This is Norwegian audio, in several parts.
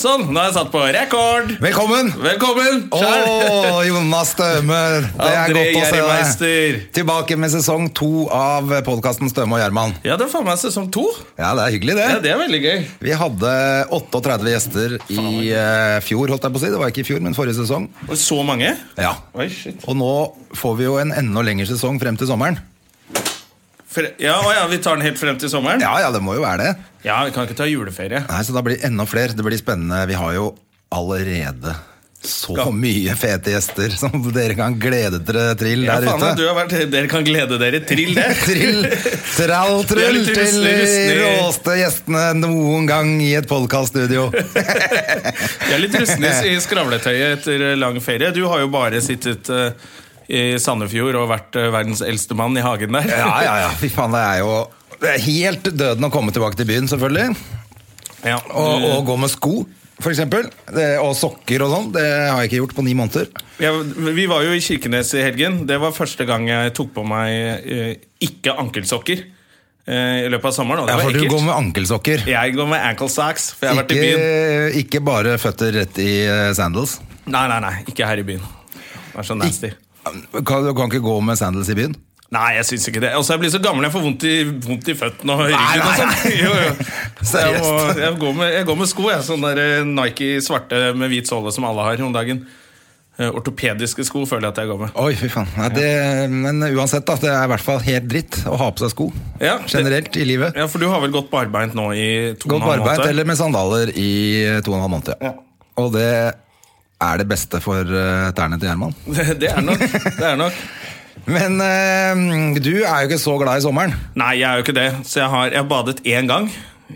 Sånn, nå er jeg satt på rekord. Velkommen! Velkommen! Å, Jonas Stømer. Det er André godt å se Gjerrimeister. deg. Tilbake med sesong to av podkasten Støme og Gjerman. Ja, det er faen meg sesong to. Ja, det er hyggelig, det. Ja, det er veldig gøy. Vi hadde 38 gjester i eh, fjor, holdt jeg på å si. Det var ikke i fjor, men forrige sesong. Og så mange. Ja. Oi, shit. Og nå får vi jo en enda lengre sesong frem til sommeren. Fre ja, å ja, vi tar den helt frem til sommeren? Ja, ja, det må jo være det. Ja, vi kan ikke ta juleferie. Nei, Så da blir det enda flere. Det blir spennende. Vi har jo allerede så Ja. mye fete gjester som dere kan glede dere til Ja, der faen, ute. du har vært, Dere kan glede dere til det. Trill, trall, Vi er trull litt til rusne, de rusne. råeste gjestene noen gang i et podkaststudio. Jeg er litt rustne i skravletøyet etter eh, lang ferie. Du har jo bare sittet eh, i Sandefjord og vært eh, verdens eldste mann i hagen der. Ja, ja, ja. Fy faen, det er jo det er helt døden å komme tilbake til byen, selvfølgelig. Ja, Og, du- og gå med sko, for eksempel. Det, og sokker og sånn. Det har jeg ikke gjort på ni måneder. Ja, vi var jo i Kirkenes i helgen. Det var første gang jeg tok på meg eh, ikke ankelsokker eh, i løpet av sommeren. Og det Ja, var for du ekkelt. går med ankelsokker. Jeg går med ankle socks, for jeg har vært i byen. Ikke, ikke bare føtter rett i eh, sandals. Nei, nei, nei, ikke her i byen. Det er så nasty. Kan, du kan ikke gå med sandals i byen? Nei, jeg syns ikke det. Og så jeg blir så gammel, jeg får vondt i, vondt i føttene og ryggen og nei, sånn. nei. Jo, jo. Så jeg, må, Seriøst. jeg, går med, jeg går med sko, jeg. Sånn der eh, Nike svarte med hvit såle som alle har om dagen. Eh, Ortopediske sko føler jeg at jeg går med. Oi, fy faen. Nei, det, men uansett, da. Det er i hvert fall helt dritt å ha på seg sko. Ja, det- generelt i livet. Ja, For du har vel gått barbeint nå i to og Gå en på halv arbeid måned? eller med sandaler i eh, to og en halv måned. Ja. Og det er det beste for eh, tærne til Gjerman. Det er nok. Det er nok. Men eh, du er jo ikke så glad i sommeren. Nei, jeg er jo ikke det. Så jeg har, jeg har badet én gang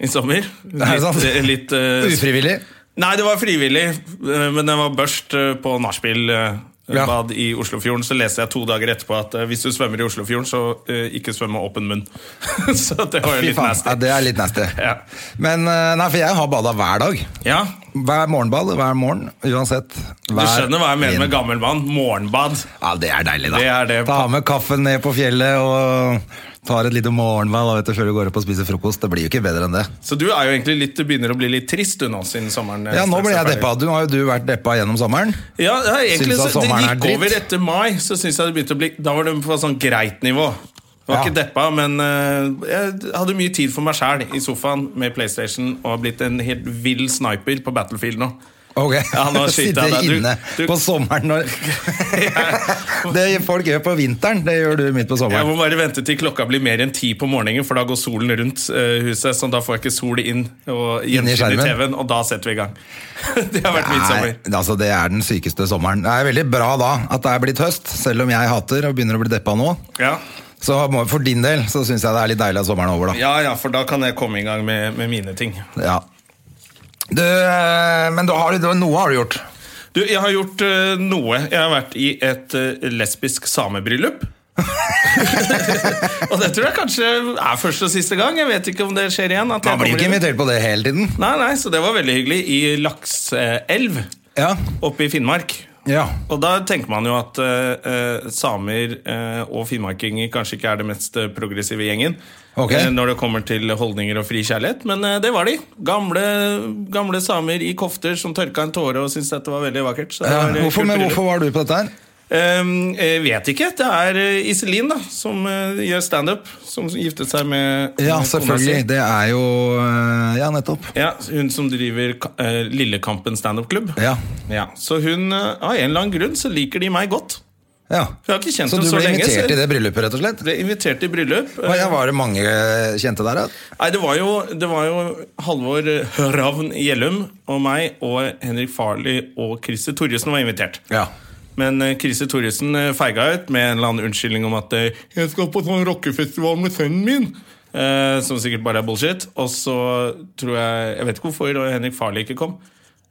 i sommer. Er det sant? Litt, eh, litt, eh, Ufrivillig. Nei, det var frivillig, eh, men det var børst eh, på nachspiel. eh, Ja. Bad i Oslofjorden, så leste jeg to dager etterpå at eh, hvis du svømmer i Oslofjorden, så eh, ikke svøm med åpen munn. så det var jo Fy litt faen. nasty. Ja, det er litt nasty. Ja. Men eh, nei, for jeg har bada hver dag. Ja, Hver morgenbad, hver morgen. Uansett. Du skjønner hva jeg mener med min. gammel mann. Morgenbad. Ja, det er deilig, da. Det er det. Ta med kaffen ned på fjellet og tar et lite morgenbad da, vet du, før du går opp og spiser frokost. Det blir jo ikke bedre enn det. Så du er jo egentlig litt, du begynner å bli litt trist du nå, siden sommeren eh, Ja, nå straks blir er jeg ferdig. deppa. Du har jo du vært deppa gjennom sommeren. Ja, ja, egentlig Syns at så, det sommeren er gikk dritt. over etter mai, så syns jeg det begynte å bli Da var det på sånn greit nivå. Det var Ja. ikke deppa, men eh, jeg hadde mye tid for meg sjæl i sofaen med PlayStation og har blitt en helt vill sniper på Battlefield nå. Ok, Ja, nå skyter jeg Sitte deg. Du- inne du- på sommeren og Det folk gjør på vinteren, det gjør du midt på Jeg må sommeren. bare vente til klokka blir mer enn ti på morgenen, for da går solen rundt eh, huset. Så da får jeg ikke sol inn og Inn i gjensyn i skjermen. TV-en, og da setter vi i gang. Det har vært min sommer. Nei, altså Det er den sykeste sommeren. Det er veldig bra da at det er blitt høst, selv om jeg hater og begynner å bli deppa nå. Ja. Så må- For din del så syns jeg det er litt deilig at sommeren er over, da. ja ja, for da kan jeg komme i gang med, med mine ting. Ja. Du, eh, men du har, du- noe har du gjort. Du, jeg har gjort eh, noe. Jeg har vært i et eh, lesbisk samebryllup. og det tror jeg kanskje er første og siste gang. Jeg vet ikke om det skjer igjen. At Man jeg blir ikke kommer inn. invitert på det hele tiden. Nei, nei, Så det var veldig hyggelig. I Lakselv Ja. oppe i Finnmark. ja. Og da tenker man jo at eh, eh, samer eh, og finnmarkinger kanskje ikke er det mest eh, progressive gjengen. Ok. eh, når det kommer til holdninger og fri kjærlighet, men eh, det var de. Gamle, gamle samer i kofter som tørka en tåre og syntes dette var veldig vakkert. Så det Ja, var, eh, Hvorfor, kult men bryllup. hvorfor var du på dette her? Ehm, Jeg vet ikke. Det er eh, Iselin da, som eh, gjør standup. Som giftet seg med Ja, med kona si. selvfølgelig. Det er jo eh, Ja, nettopp. Ja, hun som driver ka- eh, Lillekampen standup-klubb. Ja. Ja, så hun, eh, av en eller annen grunn så liker de meg godt. ja. Jeg har ikke kjent Så henne du så ble lenge, invitert så- i det bryllupet, rett og slett? Ble invitert i bryllup. Hva, ja, Eh, var det mange kjente der? Da? Nei, det var jo, det var jo Halvor eh, Ravn Gjellum og meg og Henrik Farley og Christer Torjussen var invitert. Ja. Men eh, Christer Thoresen eh, feiga ut med en eller annen unnskyldning om at eh, 'jeg skal på sånn rockefestival med sønnen min'. eh, som sikkert bare er bullshit. Og så tror jeg Jeg vet ikke hvorfor og Henrik Farley ikke kom.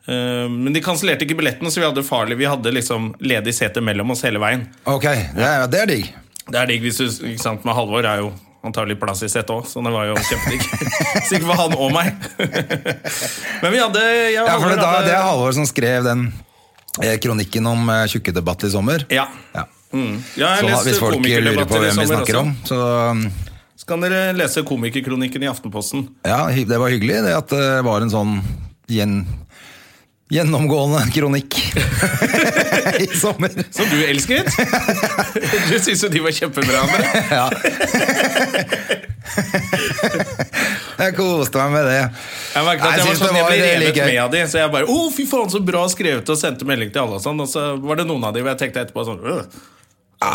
Eh, Men de kansellerte ikke billetten, så vi hadde farlig Vi hadde liksom ledig sete mellom oss hele veien. Ok, det er, det er digg. Det er digg hvis du ikke sant, Men Halvor er jo antagelig plass i setet òg, så det var jo kjempedigg. Sikkert for han og meg. Men vi hadde jeg og Ja, for Halvor det, da, hadde- det er Halvor som skrev den eh, kronikken om eh, tjukkedebatt i sommer. Ja. Ja. Mm. Ja, jeg Så da, leste hvis folk lurer på komikerdebatter i hvem vi sommer snakker også. om, så um, Så kan dere lese komikerkronikken i Aftenposten. ja, hy- det var hyggelig det at det var en sånn gjen, gjennomgående kronikk i sommer. Som du elsket! Du syns jo de var kjempebra. Andre. Ja. Jeg koste meg med det. Jeg merket at Nei, jeg, var synes det sånn, jeg var ble veldig revet gøy. med av de, så jeg bare 'Å, fy faen, så bra skrevet', og sendte melding til alle. Og sånn Og så var det noen av de hvor jeg tenkte etterpå sånn øh,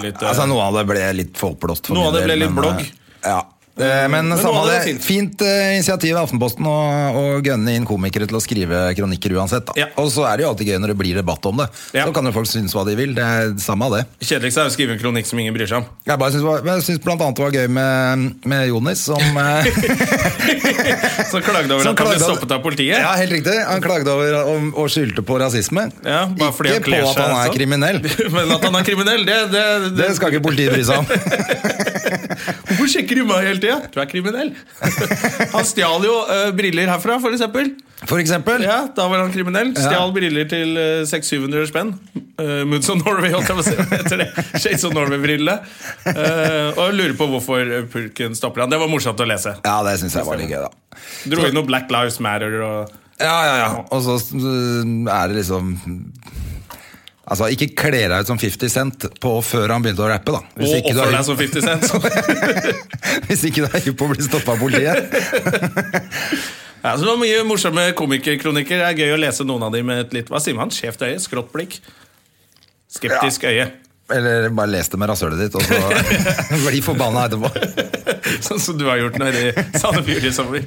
litt, øh, Altså, noe av det ble litt forblåst. for Noe av min det del, ble litt men, blogg. eh, Ja. Eh, Men, Men noe samme av det det. var Fint, fint. eh, initiativ av Aftenposten å å gønne inn komikere til å skrive kronikker uansett. Da. Ja. Og så er det jo alltid gøy når det blir debatt om det. Ja. Så kan jo folk synes hva de vil. Det er samme av det. Kjedeligst er å skrive en kronikk som ingen bryr seg om. Jeg bare synes, det var- jeg synes blant annet det var gøy med, med Jonis, som eh, Som klagde over Som at han ble klagde- stoppet av politiet. Ja, helt riktig. Han klagde over om, og skyldte på rasisme. Ja, bare fordi han ikke kler på at seg han er sånn. kriminell. Men at han er kriminell, det, det, Det skal ikke politiet bry seg om. Hvorfor sjekker du meg hele tida? Du er kriminell. Han stjal jo øh, briller herfra, for eksempel. For eksempel. Ja, da var han kriminell. Stjal briller til eh, 600-700 spenn. Uh, Moods of Norway, holdt jeg på å si. hva heter det. Shades of Norway-brillene. Eh, og jeg lurer på hvorfor eh, pulken stopper han. Det var morsomt å lese. Ja, det syns jeg var litt gøy, da. Dro inn noe Black Lives Matter og Ja, ja, ja. Og så øh, er det liksom Altså, ikke kle deg ut som 50 Cent på før han begynte å rappe, da. Og ikke du offer er- deg som 50 Cent. Hvis ikke du er hypp på å bli stoppa av politiet. Ja, så det var mye morsomme komikerkronikker. Det er gøy å lese noen av dem med et litt Hva sier man? Skjevt øye? Skrått blikk? Skeptisk øye. Eller bare les det med rasshølet ditt, og så bli forbanna etterpå. Sånn som du har gjort nede i Sandefjord i sommer.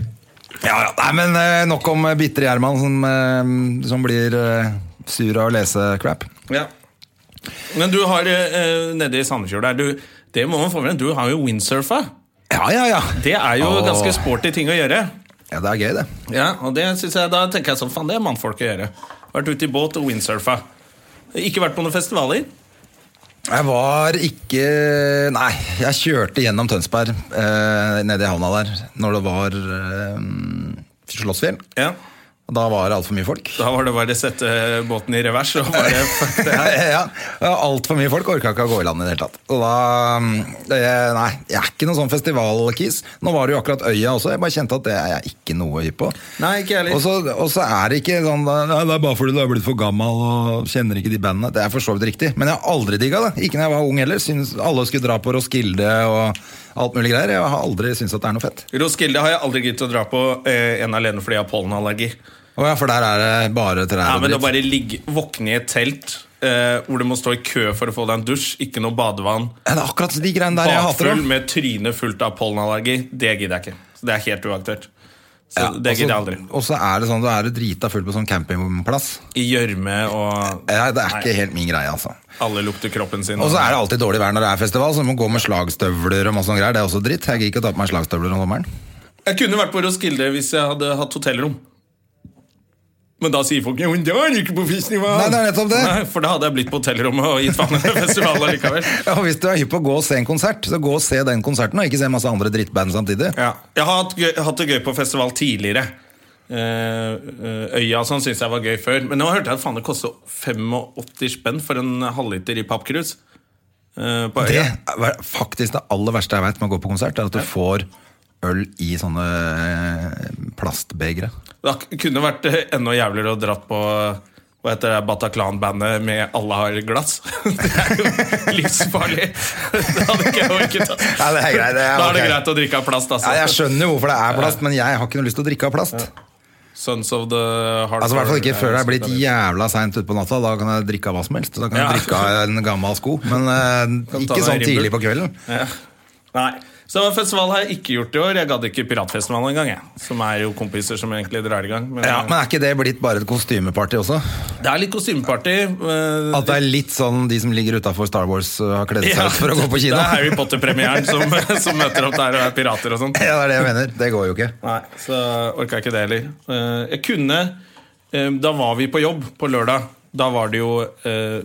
Ja, ja. Nei, men øh, nok om øh, bitre Gjerman som, øh, som blir øh, sur av å lese crap. Ja. Men du har eh, nede i Sandefjord der du, Det må man få med. Du har jo windsurfa. Ja, ja, ja. Det er jo Åh. ganske sporty ting å gjøre. Ja, det er gøy, det. Ja, og det synes jeg, Da tenker jeg sånn Faen, det er mannfolk å gjøre. Vært ute i båt og windsurfa. Ikke vært på noen festivaler. Jeg var ikke Nei, jeg kjørte gjennom Tønsberg, eh, nede i havna der, når det var eh, Slottsfjell. Ja. Og da var det altfor mye folk. Da var det bare å sette båten i revers og bare fuck det Ja, her. ja. Altfor mye folk orka ikke å gå i land i det hele tatt. Og da mm, det, Nei, jeg er ikke noen sånn festivalkis. Nå var det jo akkurat Øya også, jeg bare kjente at det er jeg ikke noe hypp på. Nei, ikke jeg heller. Og så, og så er det ikke sånn Nei, det er bare fordi du er blitt for gammel og kjenner ikke de bandene. Det er for så vidt riktig, men jeg har aldri digga det. Ikke når jeg var ung heller. Syns alle skulle dra på Roskilde og alt mulig greier. Jeg har aldri syntes at det er noe fett. Roskilde har jeg aldri giddet å dra på eh, en alene fordi jeg har pollenallergi. Å ja, for der er det bare Ja, trær og men å dritt. bare ligge, våkne i et telt eh, hvor du må stå i kø for å få deg en dusj, ikke noe badevann Ja, Det er akkurat de greiene der jeg hater Bakfull dem. med trynet fullt av pollenallergi, det gidder jeg ikke. Så Det er helt uaktuelt. Så Ja, det gidder og jeg så- aldri. Og så er det sånn, du er det drita full på sånn campingplass. I gjørme og Ja, det er Nei. ikke helt min greie, altså. alle lukter kroppen sin. Og så er det alltid dårlig vær når det er festival, så du må gå med slagstøvler og masse sånne greier. Det er også dritt. Jeg gidder ikke å ta på meg slagstøvler om sommeren. Jeg kunne vært på Roskilde hvis jeg hadde hatt hotellrom. Men da sier folk ja, men da er du ikke på festival. Nei, det er nettopp det. Nei, for da hadde jeg blitt på hotellrommet og gitt faen i festivalen likevel. Ja, og Hvis du er hypp på å gå og se en konsert, så gå og se den konserten, og ikke se masse andre drittband samtidig. Ja. Jeg har hatt, gøy, hatt det gøy på festival tidligere. Eh, eh, øya og sånn syns jeg var gøy før. Men nå hørte jeg at faen det koster 85 spenn for en halvliter i pappkrus. eh, på Det øya. er faktisk det aller verste jeg veit med å gå på konsert, er at du får øl i sånne eh, plastbegre. Det ak- kunne vært eh, enda jævligere å dratt på eh, hva heter det, Bataclan-bandet med 'Alle har glass'. Det er jo livsfarlig. Det hadde ikke jeg orket. ass. Ja, det er greit, det er da er det ok. greit å drikke av plast, altså. Ja, jeg skjønner jo hvorfor det er plast, men jeg har ikke noe lyst til å drikke av plast. Sons of the Hard Altså, I hvert fall ikke før det er blitt jævla seint utpå natta. Da kan jeg drikke av hva som helst. Da kan jeg Ja. drikke av en gammel sko, men eh, Kan ikke ta deg en sånn tidlig Red Bull. på kvelden. Ja. Nei. Så festival har jeg ikke gjort i år. Jeg gadd ikke piratfestivalen engang. jeg. Som er jo kompiser som egentlig drar i gang. Men, eh, Ja, Men er ikke det blitt bare et kostymeparty også? det er litt kostymeparty. eh, At det er litt sånn de som ligger utafor Star Wars eh, har kledd seg ja, ut for å gå på kino? Det er Harry Potter-premieren som, som møter opp der og er pirater og sånn. Ja, det er det jeg mener. Det går jo ikke. Nei, så orka jeg ikke det heller. Eh, Jeg kunne eh, da var vi på jobb på lørdag. Da var det jo eh,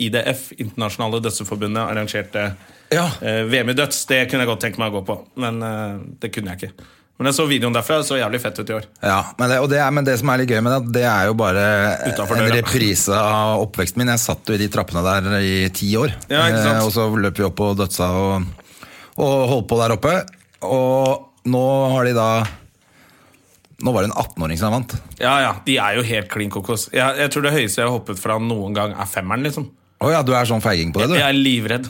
IDF, Internasjonale Dødsforbundet, arrangerte Ja. eh, VM i døds. Det kunne jeg godt tenke meg å gå på, men eh, det kunne jeg ikke. Men jeg så videoen derfra, det så jævlig fett ut i år. Ja, men det, og det er, men det som er litt gøy med det, det er jo bare Utenfor en døra. reprise av oppveksten min. Jeg satt jo i de trappene der i ti år, Ja, ikke sant? Eh, og så løp vi opp på Dødsa og, og holdt på der oppe. Og nå har de da Nå var det en 18-åring som vant. Ja, ja, De er jo helt klin kokos. Jeg, jeg tror det høyeste jeg har hoppet fra noen gang, er femmeren. liksom Å ja, du er sånn feiging på det, Jeg du? er livredd.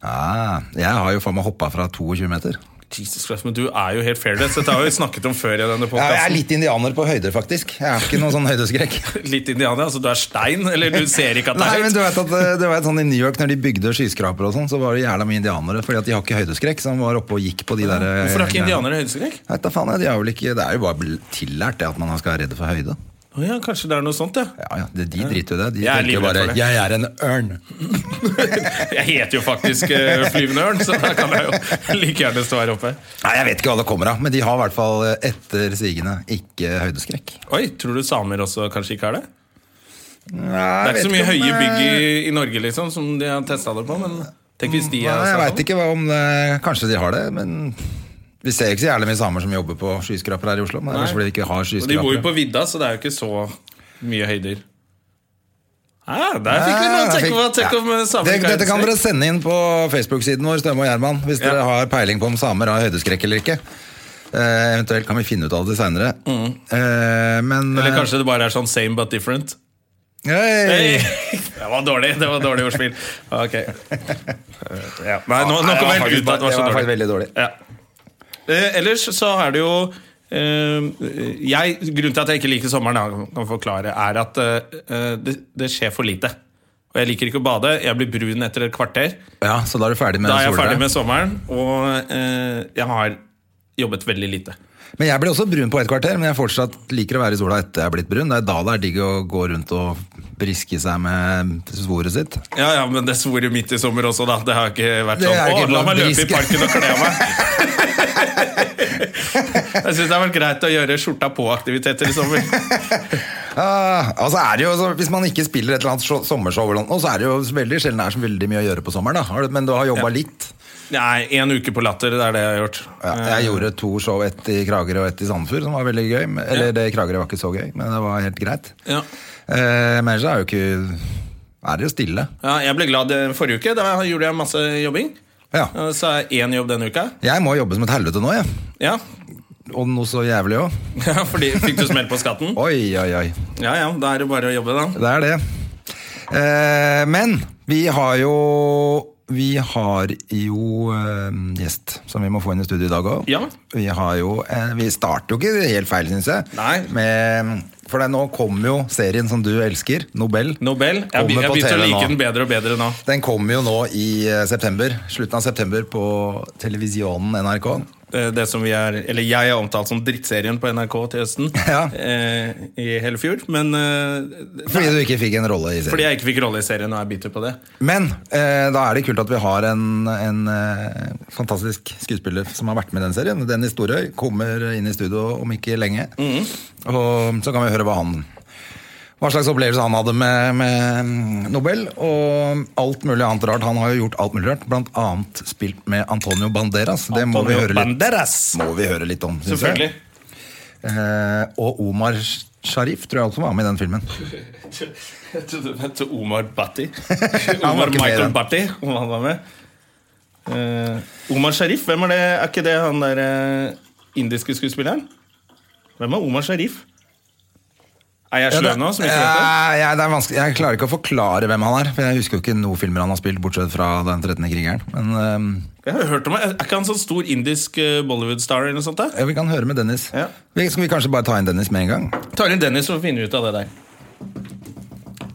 Ja, jeg har jo faen meg hoppa fra 22 meter. Jesus Christ, Men du er jo helt fairness. Dette har vi snakket om før i denne Ja, jeg er podkasten. litt indianer på høyder, faktisk. Jeg er ikke noen sånn høydeskrekk. Litt indianer, altså du er stein, eller du ser ikke at det Nei, er men høyt. du vet at eh, det var et sånn I New York, når de bygde skyskraper, og sånn, så var det jævla mye indianere. Fordi at de har ikke høydeskrekk, som var oppe og gikk på de der eh, Hvorfor har ikke greiene. indianere høydeskrekk? Jeg vet da faen, jeg, de har vel ikke, Det er jo bare bl- tillært det at man skal være redd for høyde. Å ja, kanskje det er noe sånt, ja. Ja, ja, det, De driter jo i det. De Jeg er tenker jo livredd bare for det. 'jeg er en ørn'. Jeg heter jo faktisk eh, Flyvende ørn, så da kan jeg jo like gjerne stå her oppe. Nei, Jeg vet ikke hva det kommer av, men de har i hvert fall eh, etter sigende ikke høydeskrekk. Oi, tror du samer også kanskje ikke er det? Nei, Det er jeg ikke så vet mye om, høye bygg eh, i, i Norge liksom, som de har testa det på, men tenk hvis de er Nei, jeg sånn. veit ikke hva om det, Kanskje de har det, men vi ser jo ikke så jævlig mye samer som jobber på skyskraper her i Oslo. Men det er Nei. kanskje fordi vi ikke har Og de bor jo skyskraper. på vidda, så det er jo ikke så mye høyder. Hæ, der fikk vi Ja, noe jeg tenk, fikk- om- tenk Ah, ja. om eh, samer Det- ikke har Dette kan dere høydeskrekk. sende inn på Facebook-siden vår, Stømme og Gjerman, hvis Ja. dere har peiling på om samer har høydeskrekk eller ikke. Eh, eventuelt kan vi finne ut av det seinere. Mm. Eh, men Eller kanskje det bare er sånn same but different. eh, hei! Hey. Det var dårlig det var dårlig ordspill. Ok. Eh, Ja. Nei, nå, nå Nei, det kom var faktisk jeg helt ut av bare- det var at det var så dårlig. faktisk veldig dårlig. Ja. Eh, ellers så er det jo eh, jeg, Grunnen til at jeg ikke liker sommeren, da, kan jeg forklare, er at eh, det, det skjer for lite. Og jeg liker ikke å bade. Jeg blir brun etter et kvarter. Ja, så da er du ferdig med Da er jeg solbriller. ferdig med sommeren, og eh, jeg har jobbet veldig lite. Men jeg blir også brun på et kvarter, men jeg fortsatt liker å være i sola etter jeg er blitt brun. Det er da det er digg å gå rundt og briske seg med svoret sitt. Ja, ja, men det svor jo midt i sommer også, da. Det har ikke vært Det sånn. er Å, ikke la lov meg å løpe i driske». parken og kle av meg. Jeg syns det har vært greit å gjøre skjorta på-aktiviteter i sommer. Ah, altså er det jo, så Hvis man ikke spiller et eller annet show- sommershow, eller noe, så er det jo veldig sjelden det er så veldig mye å gjøre på sommeren. Da. Har du- Men du har jobba litt. Nei, én uke på Latter, det er det jeg har gjort. Ja, jeg gjorde to show, ett i Kragerø og ett i Sandefjord, som var veldig gøy. men- Eller Ja. det i Kragerø var ikke så gøy, men det var helt greit. Ja. Eh, men ellers er, jo ikke, er det jo stille. Ja, jeg ble glad eh, forrige uke. Da gjorde jeg masse jobbing. Ja. Eh, Så er én jobb denne uka. Jeg må jobbe som et helvete nå, jeg. Ja, Og noe så jævlig òg. ja fordi Fikk du smell på skatten? Oi, oi, oi. Ja ja, da er det bare å jobbe, da. Det er det. Eh, men vi har jo Vi har jo eh, gjest som vi må få inn i studio i dag òg. Ja. Vi, har jo, eh, vi starter jo ikke helt feil, syns jeg. Nei. Med, for det, nå kommer jo serien som du elsker, Nobel. Nobel. Jeg, be- Kommer jeg på begynte å TV like nå. den bedre og bedre nå. Den kommer jo nå i eh, september. Slutten av september på televisjonen NRK. Eh, det som vi er, eller jeg har omtalt som drittserien på NRK til høsten Ja. eh, i hele fjor. Men eh, det- Fordi du ikke fikk en rolle i fordi serien. jeg ikke fikk rolle i serien og er bitter på det. Men eh, da er det kult at vi har en, en eh, fantastisk skuespiller som har vært med i den serien. Dennis Storøy kommer inn i studio om ikke lenge. Mhm. Og så kan vi høre hva han hva slags opplevelse han hadde med, med Nobel, og alt mulig annet rart. Han har jo gjort alt mulig rart, blant annet spilt med Antonio Banderas. Det må vi Antonio høre litt, Banderas! må vi høre litt om. synes jeg. Selvfølgelig. Eh, og Omar Sharif tror jeg også var med i den filmen. Jeg trodde det het Omar Bhatti. var Omar ikke med i Michael den. Bhatti, om han var med. Eh, Omar Sharif, hvem er det? Er ikke det han der eh, indiske skuespilleren? Hvem er Omar Sharif? Er jeg Ja, sløv det- nå? som ikke vet det? Ja, ja, det er vanskelig. Jeg klarer ikke å forklare hvem han er, for jeg husker jo ikke noen filmer han har spilt, bortsett fra Den 13. krigeren. Men ehm, Jeg har hørt om Er ikke han sånn stor indisk eh, Bollywood-star? eller noe sånt da? eh, ja, vi kan høre med Dennis. Ja. Vi, skal vi kanskje bare ta inn Dennis med en gang? tar inn Dennis og finner ut av det der.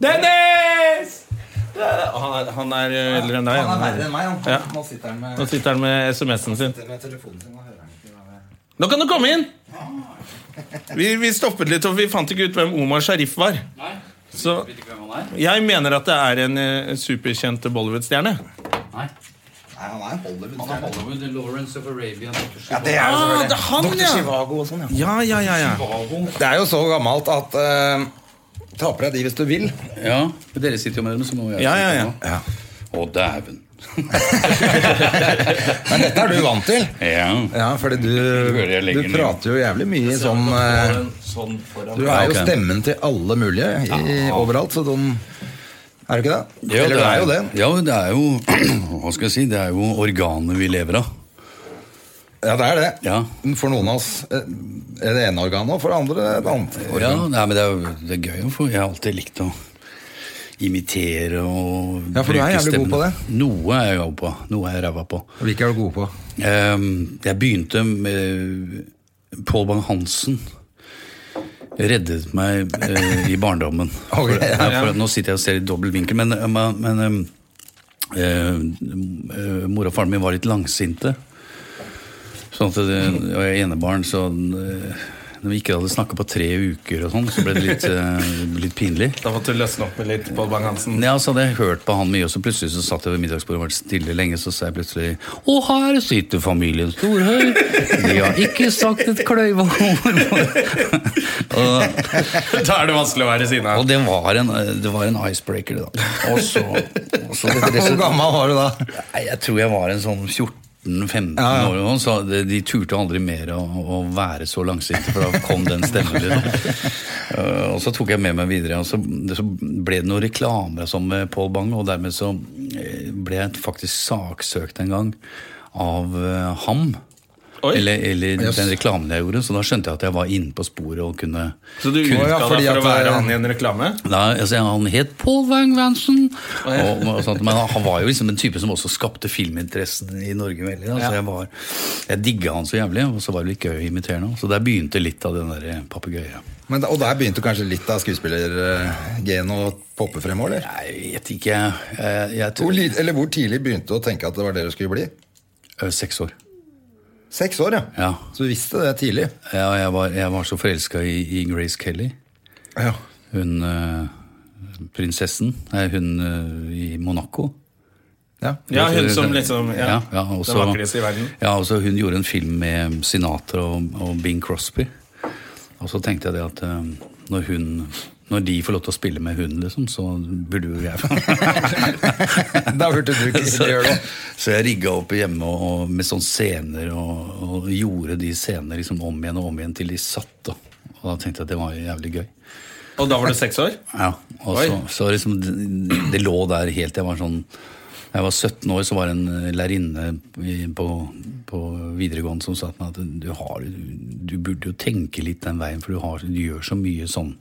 Dennis! Der er- Han er, han er eh, eldre enn deg. meg, han. Ja. Nå sitter han Nå sitter han med SMS-en sin. med telefonen sin og hører han ikke. Nå kan du komme inn! Vi, vi stoppet litt, og vi fant ikke ut hvem Omar Sharif var. Nei, Så vet ikke hvem han er. jeg mener at det er en eh, superkjent Bollywood-stjerne. Nei, Nei, han er en han er Hollywood, Lawrence of Arabia, Dr. Ja, Shiva. det er det Ah, selvfølgelig. det er han, Dr. ja. Chivago og sånn, ja. Ja, ja, ja, ja. Det er jo så gammelt at eh, Ta på deg de hvis du vil. Ja, men dere sitter jo med dem, så må jeg Ja, ja, ja. sitte nå. Å, dæven. Men dette er du vant til. Ja. Ja, fordi du, hører jeg du legger den inn. prater jo jævlig mye i sånn eh, Sånn foran. Du er jo ok. stemmen til alle mulige i, overalt, så de Er du ikke det? Ja, Eller du er jo det. Ja, det er jo Hva skal jeg si? Det er jo organet vi lever av. Ja, det er det. Ja. For noen av oss eh, er det ene organet, og for det andre et annet. Ja, nei, men det er, jo- det er gøy å få Jeg har alltid likt å imitere og Ja, for du er bruke jævlig god på stemmen. Noe er jeg god på. Noe er jeg ræva på. Hvilke er du god på? Ehm, jeg begynte med Pål Bang-Hansen. Reddet meg eh, i barndommen. Ok, for, ja, ja. for, nå sitter jeg og ser i dobbel vinkel, men, eh, ma- men ehm, eh, eh, mor og faren min var litt langsinte. Sånn at det, og jeg er enebarn, så eh, når vi ikke hadde snakka på tre uker, og sånn, så ble det litt, eh, litt pinlig. Da måtte du løsne opp med litt Pål Bang-Hansen. Ja, så hadde jeg hørt på han mye, og så plutselig så satt jeg ved middagsbordet og var stille lenge, så sa jeg plutselig Å, her sitter familien Storhøy! De har ikke sagt et kløyva ord! og, Da er det vanskelig å være ved siden og av. det var en, det var en icebreaker, det da. Og så, og så Hvor gammel var du da? Nei, jeg tror jeg var en sånn 14-15 år, eller noe, så de, de turte aldri mer å, å være så langsinte, for da kom den stemmen. Liksom. Eh, og så tok jeg med meg videre, og så, så ble det noen reklamer og sånn med Pål Bang, og dermed så eh, ble jeg faktisk saksøkt en gang av eh, ham. Oi. Eller, eller den reklamen jeg gjorde, så da skjønte jeg at jeg var inne på sporet og kunne Så du utga Å, ja, deg fordi for å at, eh, være han i en reklame? Nei, altså, han het Paul Wang-Vansen. Men han var jo liksom en type som også skapte filminteressen i Norge veldig. Da. Så jeg, var- jeg digga han så jævlig, og så var det litt gøy å imitere ham. Så der begynte litt av den der papegøyen. Men, da- og der begynte kanskje litt av skuespillergenet å poppe frem? Eller? Nei, Jeg vet ikke. Jeg, jeg, jeg Hvor, tror li- eller hvor tidlig begynte du å tenke at det var det du skulle bli? Ø, Seks år. Seks år, ja. Ja. Så du visste det tidlig. Ja, jeg, var, jeg var så forelska i, i Grace Kelly. Ja. Hun ø, prinsessen. Nei, hun ø, i Monaco. Ja, hun som liksom Ja, ja, ja, og Den så- vakreste i verden. Ja, og så hun gjorde en film med Sinatra og, og Bing Crosby. Og så tenkte jeg det at eh, når hun når de får lov til å spille med hun, liksom, så burde jo jeg Da burde du ikke så, gjøre det. så jeg rigga opp hjemme og, og med sånne scener og, og gjorde de scenene liksom om igjen og om igjen til de satt. Da. Og da tenkte jeg at det var jævlig gøy. Og da var du seks år? Ja, og Oi. så, så liksom det, det lå der helt Jeg var sånn da jeg var 17 år, så var det en eh, lærerinne i- på, på videregående som sa til meg at du, har, du burde jo tenke litt den veien, for du, har, du gjør så mye sånn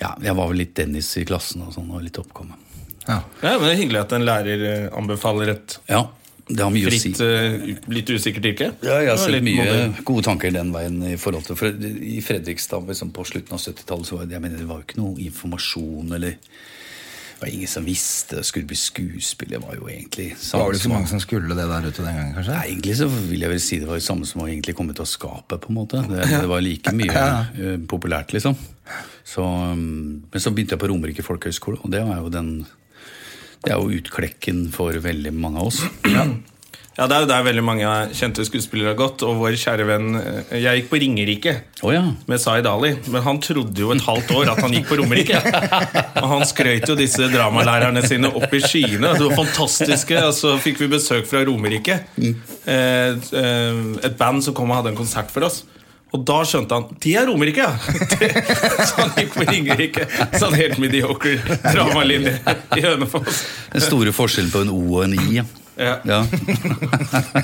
Ja, jeg var vel litt Dennis i klassen og sånn, og litt oppkomme. Ja, men det er Hyggelig at en lærer eh, anbefaler et Ja, det har mye å si. fritt, eh, litt usikkert yrke. Ja, jeg har Det var sett litt mye modig. gode tanker den veien. I forhold til, for i Fredrikstad liksom på slutten av 70-tallet så var det, jeg mener, det var jo ikke noe informasjon eller det var ingen som visste det skulle bli skuespiller. Det var jo egentlig Det var samme vel ikke så som mange som skulle det der ute den gangen, kanskje? Nei, egentlig så vil jeg vel si det var det samme som å egentlig komme ut av skapet, på en måte. Det, det var like mye eh, populært, liksom. Så, um, men så begynte jeg på Romerike folkehøgskole, og det var jo den Det er jo utklekken for veldig mange av oss. Ja, Det er jo der veldig mange kjente skuespillere har gått. Og vår kjære venn eh, Jeg gikk på Ringerike Å ja. med Zaid Ali, men han trodde jo et halvt år at han gikk på Romerike. Og han skrøt jo disse dramalærerne sine opp i skyene. Det var fantastiske. Og så fikk vi besøk fra Romerike. Eh, eh, et band som kom og hadde en konsert for oss. Og da skjønte han de er Romerike! ja!» Det- Så han gikk på Ringerike. Så han helt mediocre dramalinje i Hønefoss. Den store forskjellen på en O og en I. Ja. Ja. Ja. Det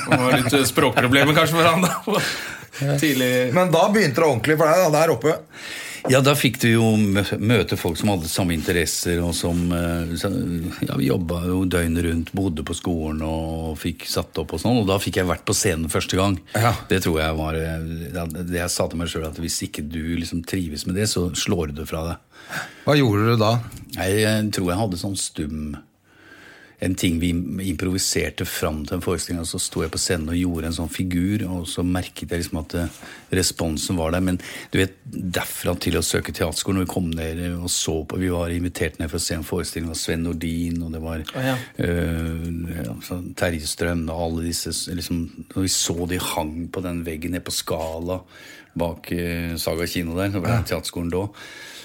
var litt eh, språkproblemer kanskje for han da. Tidlig Men da begynte det ordentlig for deg, da, der oppe. Ja, da fikk du jo mø- møte folk som hadde samme interesser, og som eh, så- ja, jobba jo døgnet rundt, bodde på skolen og fikk satt opp og sånn. Og da fikk jeg vært på scenen første gang. Ja. Det tror jeg var eh, ja, det Jeg sa til meg sjøl at hvis ikke du liksom trives med det, så slår du det fra deg. Hva gjorde du da? Jeg eh, tror jeg hadde sånn stum En ting vi im- improviserte fram til en forestilling, og så sto jeg på scenen og gjorde en sånn figur, og så merket jeg liksom at eh, responsen var der. Men du vet, derfra til å søke teaterskolen, og vi kom ned og så på Vi var invitert ned for å se en forestilling av Sven Nordin, og det var eh, ja, så Terje Strøm og alle disse s- liksom, Og vi så de hang på den veggen nede på Skala. bak eh, Saga kino der. Det var teaterskolen da.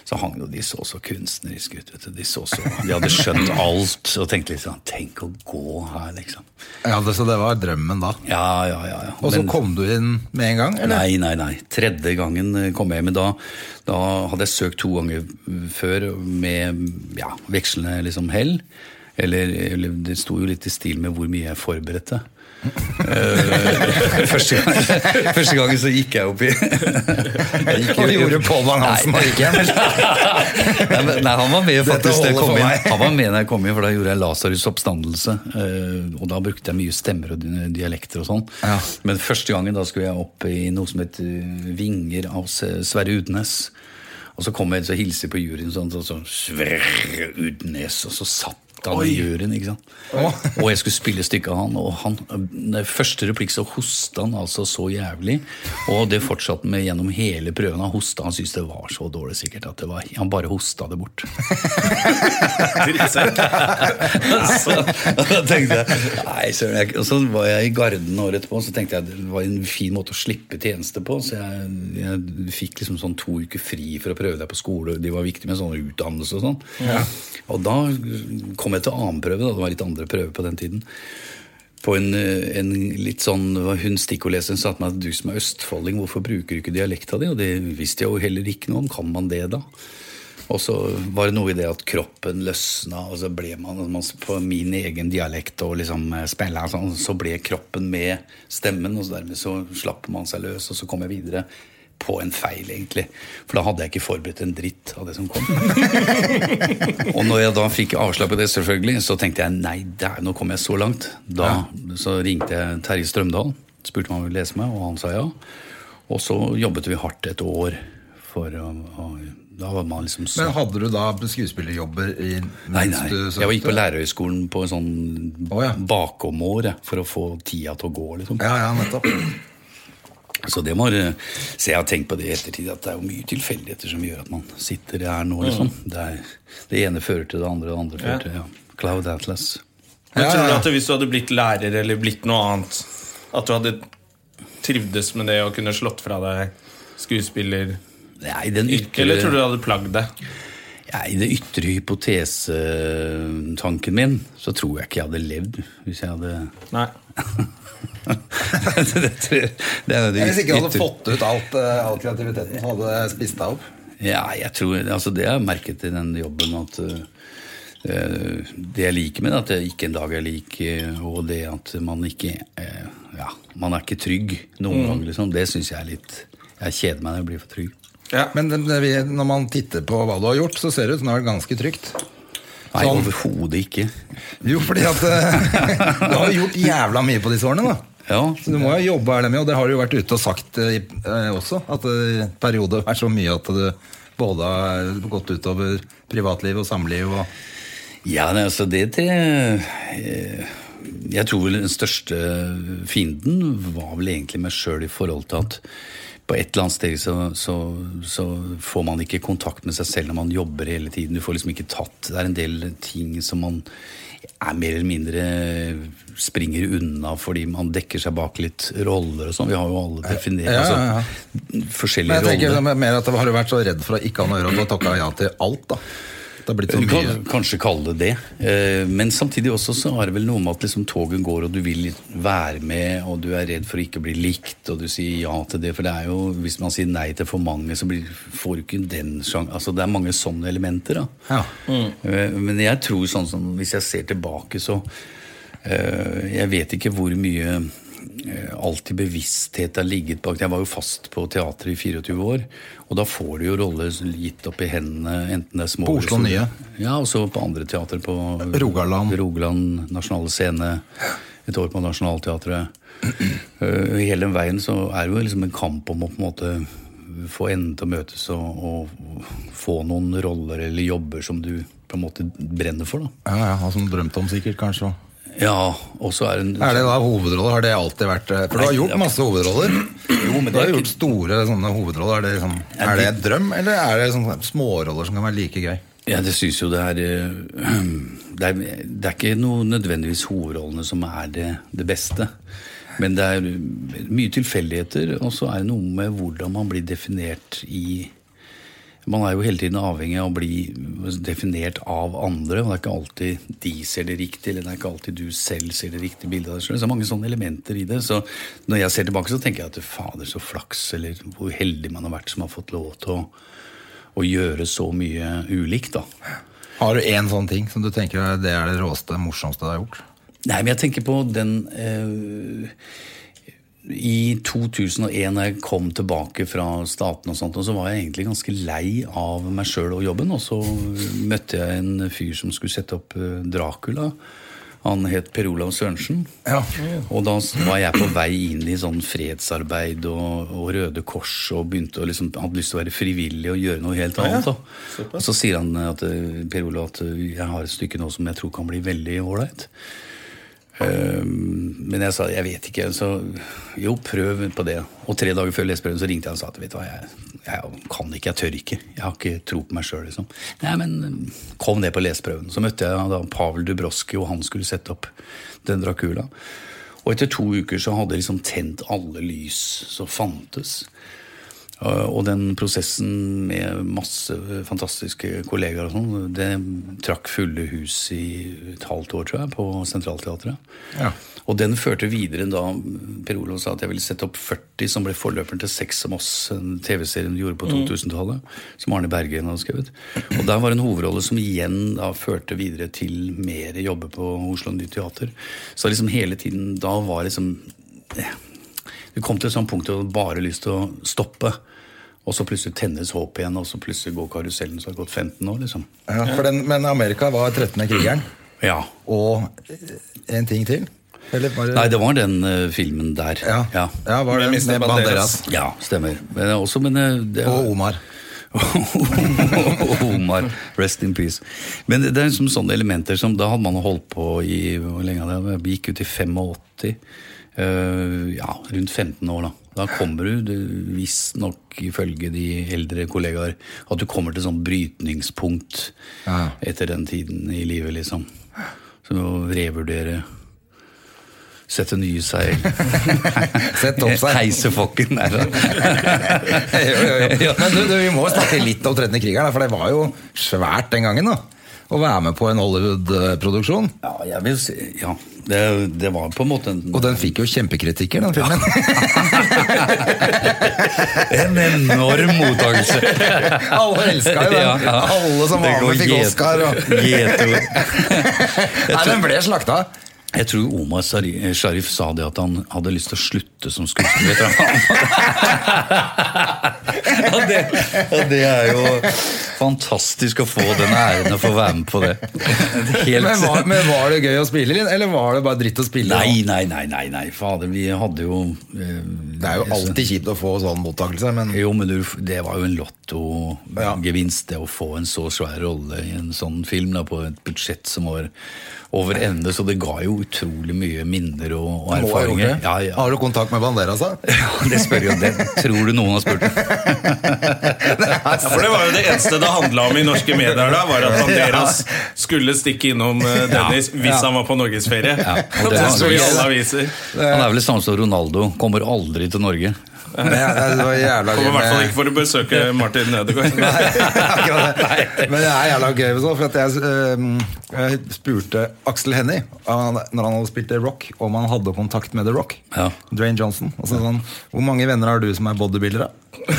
Så hang jo de så så kunstneriske ut. vet du. De, så så, de hadde skjønt alt og tenkte litt sånn Tenk å gå her, liksom. Ja, det, Så det var drømmen da. Ja, ja, ja. ja. Og så Men- kom du inn med en gang? eller? Nei, nei, nei. Tredje gangen eh, kom jeg hjem. Men da, da hadde jeg søkt to ganger mm, før med ja, vekslende liksom hell. Eller, eller det sto jo litt i stil med hvor mye jeg forberedte. Eh, første, gang, første gangen så gikk jeg opp i jeg gikk jo- Og gjorde Pål Bang-Hansen og gikk hjem? nei, men- nei, han var med faktisk da jeg holder kom for inn. meg. Han var med da jeg kom inn, for da gjorde jeg Lasarus' oppstandelse. eh, Og da brukte jeg mye stemmer og di- dialekter og sånn. Ja. Men første gangen da skulle jeg opp i noe som het eh, Vinger av Se- Sverre Udnes. Og så kom jeg så hilser jeg på juryen sånn, sånn, sånn Sverre Udnes, og så satt han i juryen, ikke sant? Og jeg skulle spille stykket av han, og han, den første replikk så hosta han altså så jævlig. Og det fortsatte med gjennom hele prøven. Han hosta, han syntes det var så dårlig sikkert at det var, han bare hosta det bort. så, da tenkte jeg, nei, søren, jeg Og så var jeg i Garden året etterpå, så tenkte jeg det var en fin måte å slippe tjeneste på. Så jeg, jeg fikk liksom sånn to uker fri for å prøve deg på skole. De var viktige med sånn utdannelse og sånn. Og da kom jeg til annen prøve, da. Det var litt andre prøver på den tiden. På en, eh, en litt sånn, det var Hun stikkoleseren sa til meg at du som er østfolding, hvorfor bruker du ikke dialekta di? Og det visste jeg jo heller ikke noe om. Kan man det, da? Og så var det noe i det at kroppen løsna, og så ble man, man på min egen dialekt og liksom eh, spella sånn, så ble kroppen med stemmen, og så dermed så slapp man seg løs, og så kom jeg videre på en feil, egentlig. For da hadde jeg ikke forberedt en dritt av det som kom. og når jeg da fikk avslag på det, selvfølgelig, så tenkte jeg nei, der, nå kom jeg så langt. Da så ringte jeg Terje Strømdal, spurte om han ville lese meg, og han sa ja. Og så jobbet vi hardt et år for å, å Da var man liksom så Men hadde du da skuespillerjobber i, Nei, mens nei. du søkte? Jeg gikk på lærerhøyskolen på en sånn Å, ja. bakomår jeg, for å få tida til å gå. liksom. Ja, ja, nettopp. Så det må eh, Så jeg har tenkt på det i ettertid, at det er jo mye tilfeldigheter som gjør at man sitter her nå, liksom. Mm. Det, er, det ene fører til det andre, det andre fører Ja. til ja. Cloud Atlas. Men Ja, tror du ja. at hvis du hadde blitt lærer eller blitt noe annet, at du hadde trivdes med det og kunne slått fra deg skuespiller Nei, den ytre, Eller tror du det hadde plagd deg? nei, det ytre hypotesetanken min, så tror jeg ikke jeg hadde levd hvis jeg hadde Nei. det, tror jeg- det er jo det Hvis ikke du hadde ytre- fått ut alt, eh, all kreativiteten som hadde spist deg opp? Ja, jeg tror, altså det har jeg merket i den jobben at eh, det jeg liker med det, at det er ikke en dag jeg liker, og det at man ikke eh, ja, man er ikke trygg noen gang, liksom, det syns jeg er litt Jeg kjeder meg når jeg blir for trygg. Ja. Men det, det, vi- når man titter på hva du har gjort, så ser det ut som det har vært ganske trygt. Nei, Sånn. overhodet ikke. Jo, fordi at eh, du har gjort jævla mye på disse årene, da. Ja, Så du må jo jobbe ærlig med, og det har du jo vært ute og sagt eh, i- eh, også, at det i perioder er så mye at du både har gått utover privatliv og samliv og ja nei, altså det til eh, Jeg tror vel den største fienden var vel egentlig meg sjøl i forhold til at på et eller annet steg så, så, så får man ikke kontakt med seg selv når man jobber hele tiden. Du får liksom ikke tatt Det er en del ting som man er mer eller mindre springer unna fordi man dekker seg bak litt roller og sånn. Vi har jo alle definert Ja, ja, ja. Altså, Men forskjellige jeg tenker roller. mer at det har du vært så redd for å ikke ha noe å gjøre, og du har takka ja til alt, da. Det har blitt så mye. Du kan kanskje kalle det det. Eh, Men samtidig også så er det vel noe med at liksom toget går, og du vil være med, og du er redd for å ikke bli likt, og du sier ja til det. For det er jo, hvis man sier nei til for mange, så blir, får du ikke den sjang... Altså, det er mange sånne elementer, da. Ja. Eh, Men jeg tror sånn som Hvis jeg ser tilbake, så eh, Jeg vet ikke hvor mye eh, alltid bevissthet har ligget bak. Jeg var jo fast på teatret i 24 år, og da får du jo roller gitt opp i hendene, enten det er små På Oslo eller Nye. store. Ja, og så på andre teater på Rogaland. Rogaland Nasjonale Scene. Et år på Nationaltheatret. Eh, Hele den veien så er det jo liksom en kamp om å på en måte få endene til å møtes og, og få noen roller eller jobber som du på en måte brenner for, da. Ja, ja, altså, drømt om sikkert, kanskje. og- Ja, og så er det en Er det da hovedroller? Har det alltid vært eh, For du har Nei, det gjort er- masse hovedroller. Jo, men det du har er ikke- gjort store sånne hovedroller. Er det, liksom, er det et drøm, eller er det sånne småroller som kan være like gøy? Ja, det syns jo det er eh, det er, det er ikke noe nødvendigvis hovedrollene som er det, det beste. Men det er mye tilfeldigheter, og så er det noe med hvordan man blir definert i Man er jo hele tiden avhengig av å bli definert av andre, og det er ikke alltid de ser det riktig, eller det er ikke alltid du selv ser det riktige bildet av deg selv. Så det er mange sånne elementer i det. Så når jeg ser tilbake, så tenker jeg at fader, så flaks, eller hvor heldig man har vært som har fått lov til å, å gjøre så mye ulikt, da. Har du én sånn ting som du tenker er- det er det råeste, morsomste du har gjort? Nei, men jeg tenker på den eh, I 2001, da jeg kom tilbake fra Staten og sånt, og så var jeg egentlig ganske lei av meg sjøl og jobben. Og så møtte jeg en fyr som skulle sette opp eh, Dracula. Han het Per Olav Sørensen. Ja. Og da var jeg på vei inn i sånn fredsarbeid og, og Røde Kors og begynte å liksom, hadde lyst til å være frivillig og gjøre noe helt annet. Da. Og så sier han at, eh, Per Olav at eh, jeg har et stykke nå som jeg tror kan bli veldig ålreit. Eh, Men jeg sa jeg vet ikke, så jo, prøv på det. Og tre dager før leseprøven så ringte jeg og sa at vet du hva, jeg, jeg kan ikke, jeg tør ikke. Jeg har ikke tro på meg sjøl, liksom. Nei, men eh, kom ned på leseprøven. Så møtte jeg da Pavel Dubroski, og han skulle sette opp den Dracula. Og etter to uker så hadde jeg liksom tent alle lys som fantes. Eh, Og den prosessen med masse fantastiske kollegaer og sånn, det trakk fulle hus i et halvt år, tror jeg, på Centralteatret. Og den førte videre da Per Olav sa at jeg ville sette opp 40, som ble forløperen til Seks om oss, en TV-serie hun gjorde på 2000-tallet, som Arne Berggren hadde skrevet. Og der var en hovedrolle som igjen da førte videre til mer jobber på Oslo Nytt Teater. Så liksom hele tiden da var liksom Du kom til et sånt punkt hvor du bare hadde lyst til å stoppe. Og så plutselig tennes håpet igjen, og så plutselig går karusellen som har gått 15 år, liksom. Ja, for den, men Amerika var 13. krigeren. Ja. Og eh, en ting til? Eller bare Nei, det var den eh, filmen der. Ja, ja. var det Med Mr. med Banderas. Ja, stemmer. Men det er også, men eh, det, Og Omar. Omar, rest in peace. Men det er liksom sånne elementer som Da hadde man holdt på i hvor lenge hadde jeg, Vi gikk ut i 85. eh, ja, rundt 15 år, da. Da kommer du, du visstnok ifølge de eldre kollegaer, at du kommer til sånn brytningspunkt Ja. etter den tiden i livet, liksom. Så du må revurdere. Sette nye seil. Sett opp seg. Heise fokken. Nei da. jo, jo, jo. Men du, du, vi må snakke litt om 13. krigeren, da, for det var jo svært den gangen. da Å være med på en Hollywood-produksjon. Ja, jeg vil si, ja. Det, det var på en måte en, Og den fikk jo kjempekritikker, den filmen. en enorm mottakelse. Alle elska jo den. Ja, ja. Alle som Det var går med, fikk gjet- Oscar. Og... gjetord. Nei, den ble slakta. Jeg tror Omar Sari- eh, Sharif sa det at han hadde lyst til å slutte som skuespiller. Vet du. og, det, og det er jo fantastisk å få den æren å få være med på det. Helt- Men var, men var det gøy å spille, Linn? Eller var det bare dritt å spille? Nei, nei, nei, nei, nei, fader. Vi hadde jo eh, Det er jo alltid kjipt å få sånn mottakelse, men Jo, men du, det var jo en lottogevinst, det å få en så svær rolle i en sånn film da, på et budsjett som var over ende, så det ga jo utrolig mye minner og, og må ha gjort det. erfaringer. Ja, ja. Har du kontakt med Banderas, da? ja, det spør jo den. Tror du noen har spurt den? Ja, for det var jo det eneste det handla om i norske medier da, var at Banderas skulle stikke innom eh, Dennis hvis han var på norgesferie. og det det var- sto i alle aviser. Han er vel det samme som Ronaldo. Kommer aldri til Norge. Nei, det var jævla Kommer i hvert fall med- ikke for å besøke Martin Ødegaard. Akkurat det. Men det er jævla gøy med sånn, for at jeg, øhm, jeg spurte Aksel Hennie han- når han hadde spilt The Rock, om han hadde kontakt med The Rock. Ja. Dwayne Johnson. Og så sa han Hvor mange venner har du som er bodybuildere?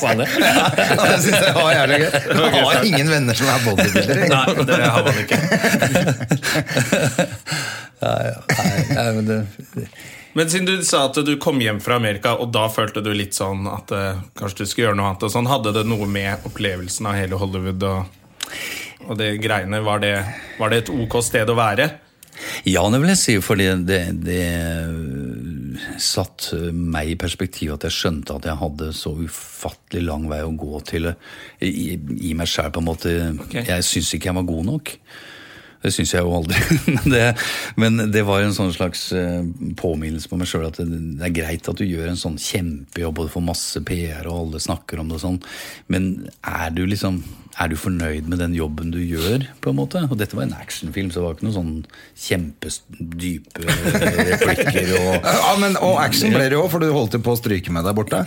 Sa han det? Ja, det syns jeg var jævlig gøy. Han har ingen venner som er bodybuildere. Nei, det har man ikke. Nei, nei, men det, Men siden du sa at du kom hjem fra Amerika, og da følte du litt sånn at eh, kanskje du skulle gjøre noe annet, og sånn, hadde det noe med opplevelsen av hele Hollywood og, og det greiene Var det, var det et ok sted å være? Ja, det vil jeg si, fordi det, det satt meg i perspektiv at jeg skjønte at jeg hadde så ufattelig lang vei å gå til i, i meg sjæl, på en måte. Ok. Jeg syns ikke jeg var god nok. Det syns jeg jo aldri. men, det, men det var en sånn slags eh, påminnelse på meg sjøl at det, det er greit at du gjør en sånn kjempejobb og du får masse PR og alle snakker om det og sånn, men er du liksom er du fornøyd med den jobben du gjør? på en måte? Og dette var en actionfilm, så det var ikke noen sånn kjempedype replikker. og... Ja, men, og action ble det jo, for du holdt jo på å stryke med deg borte.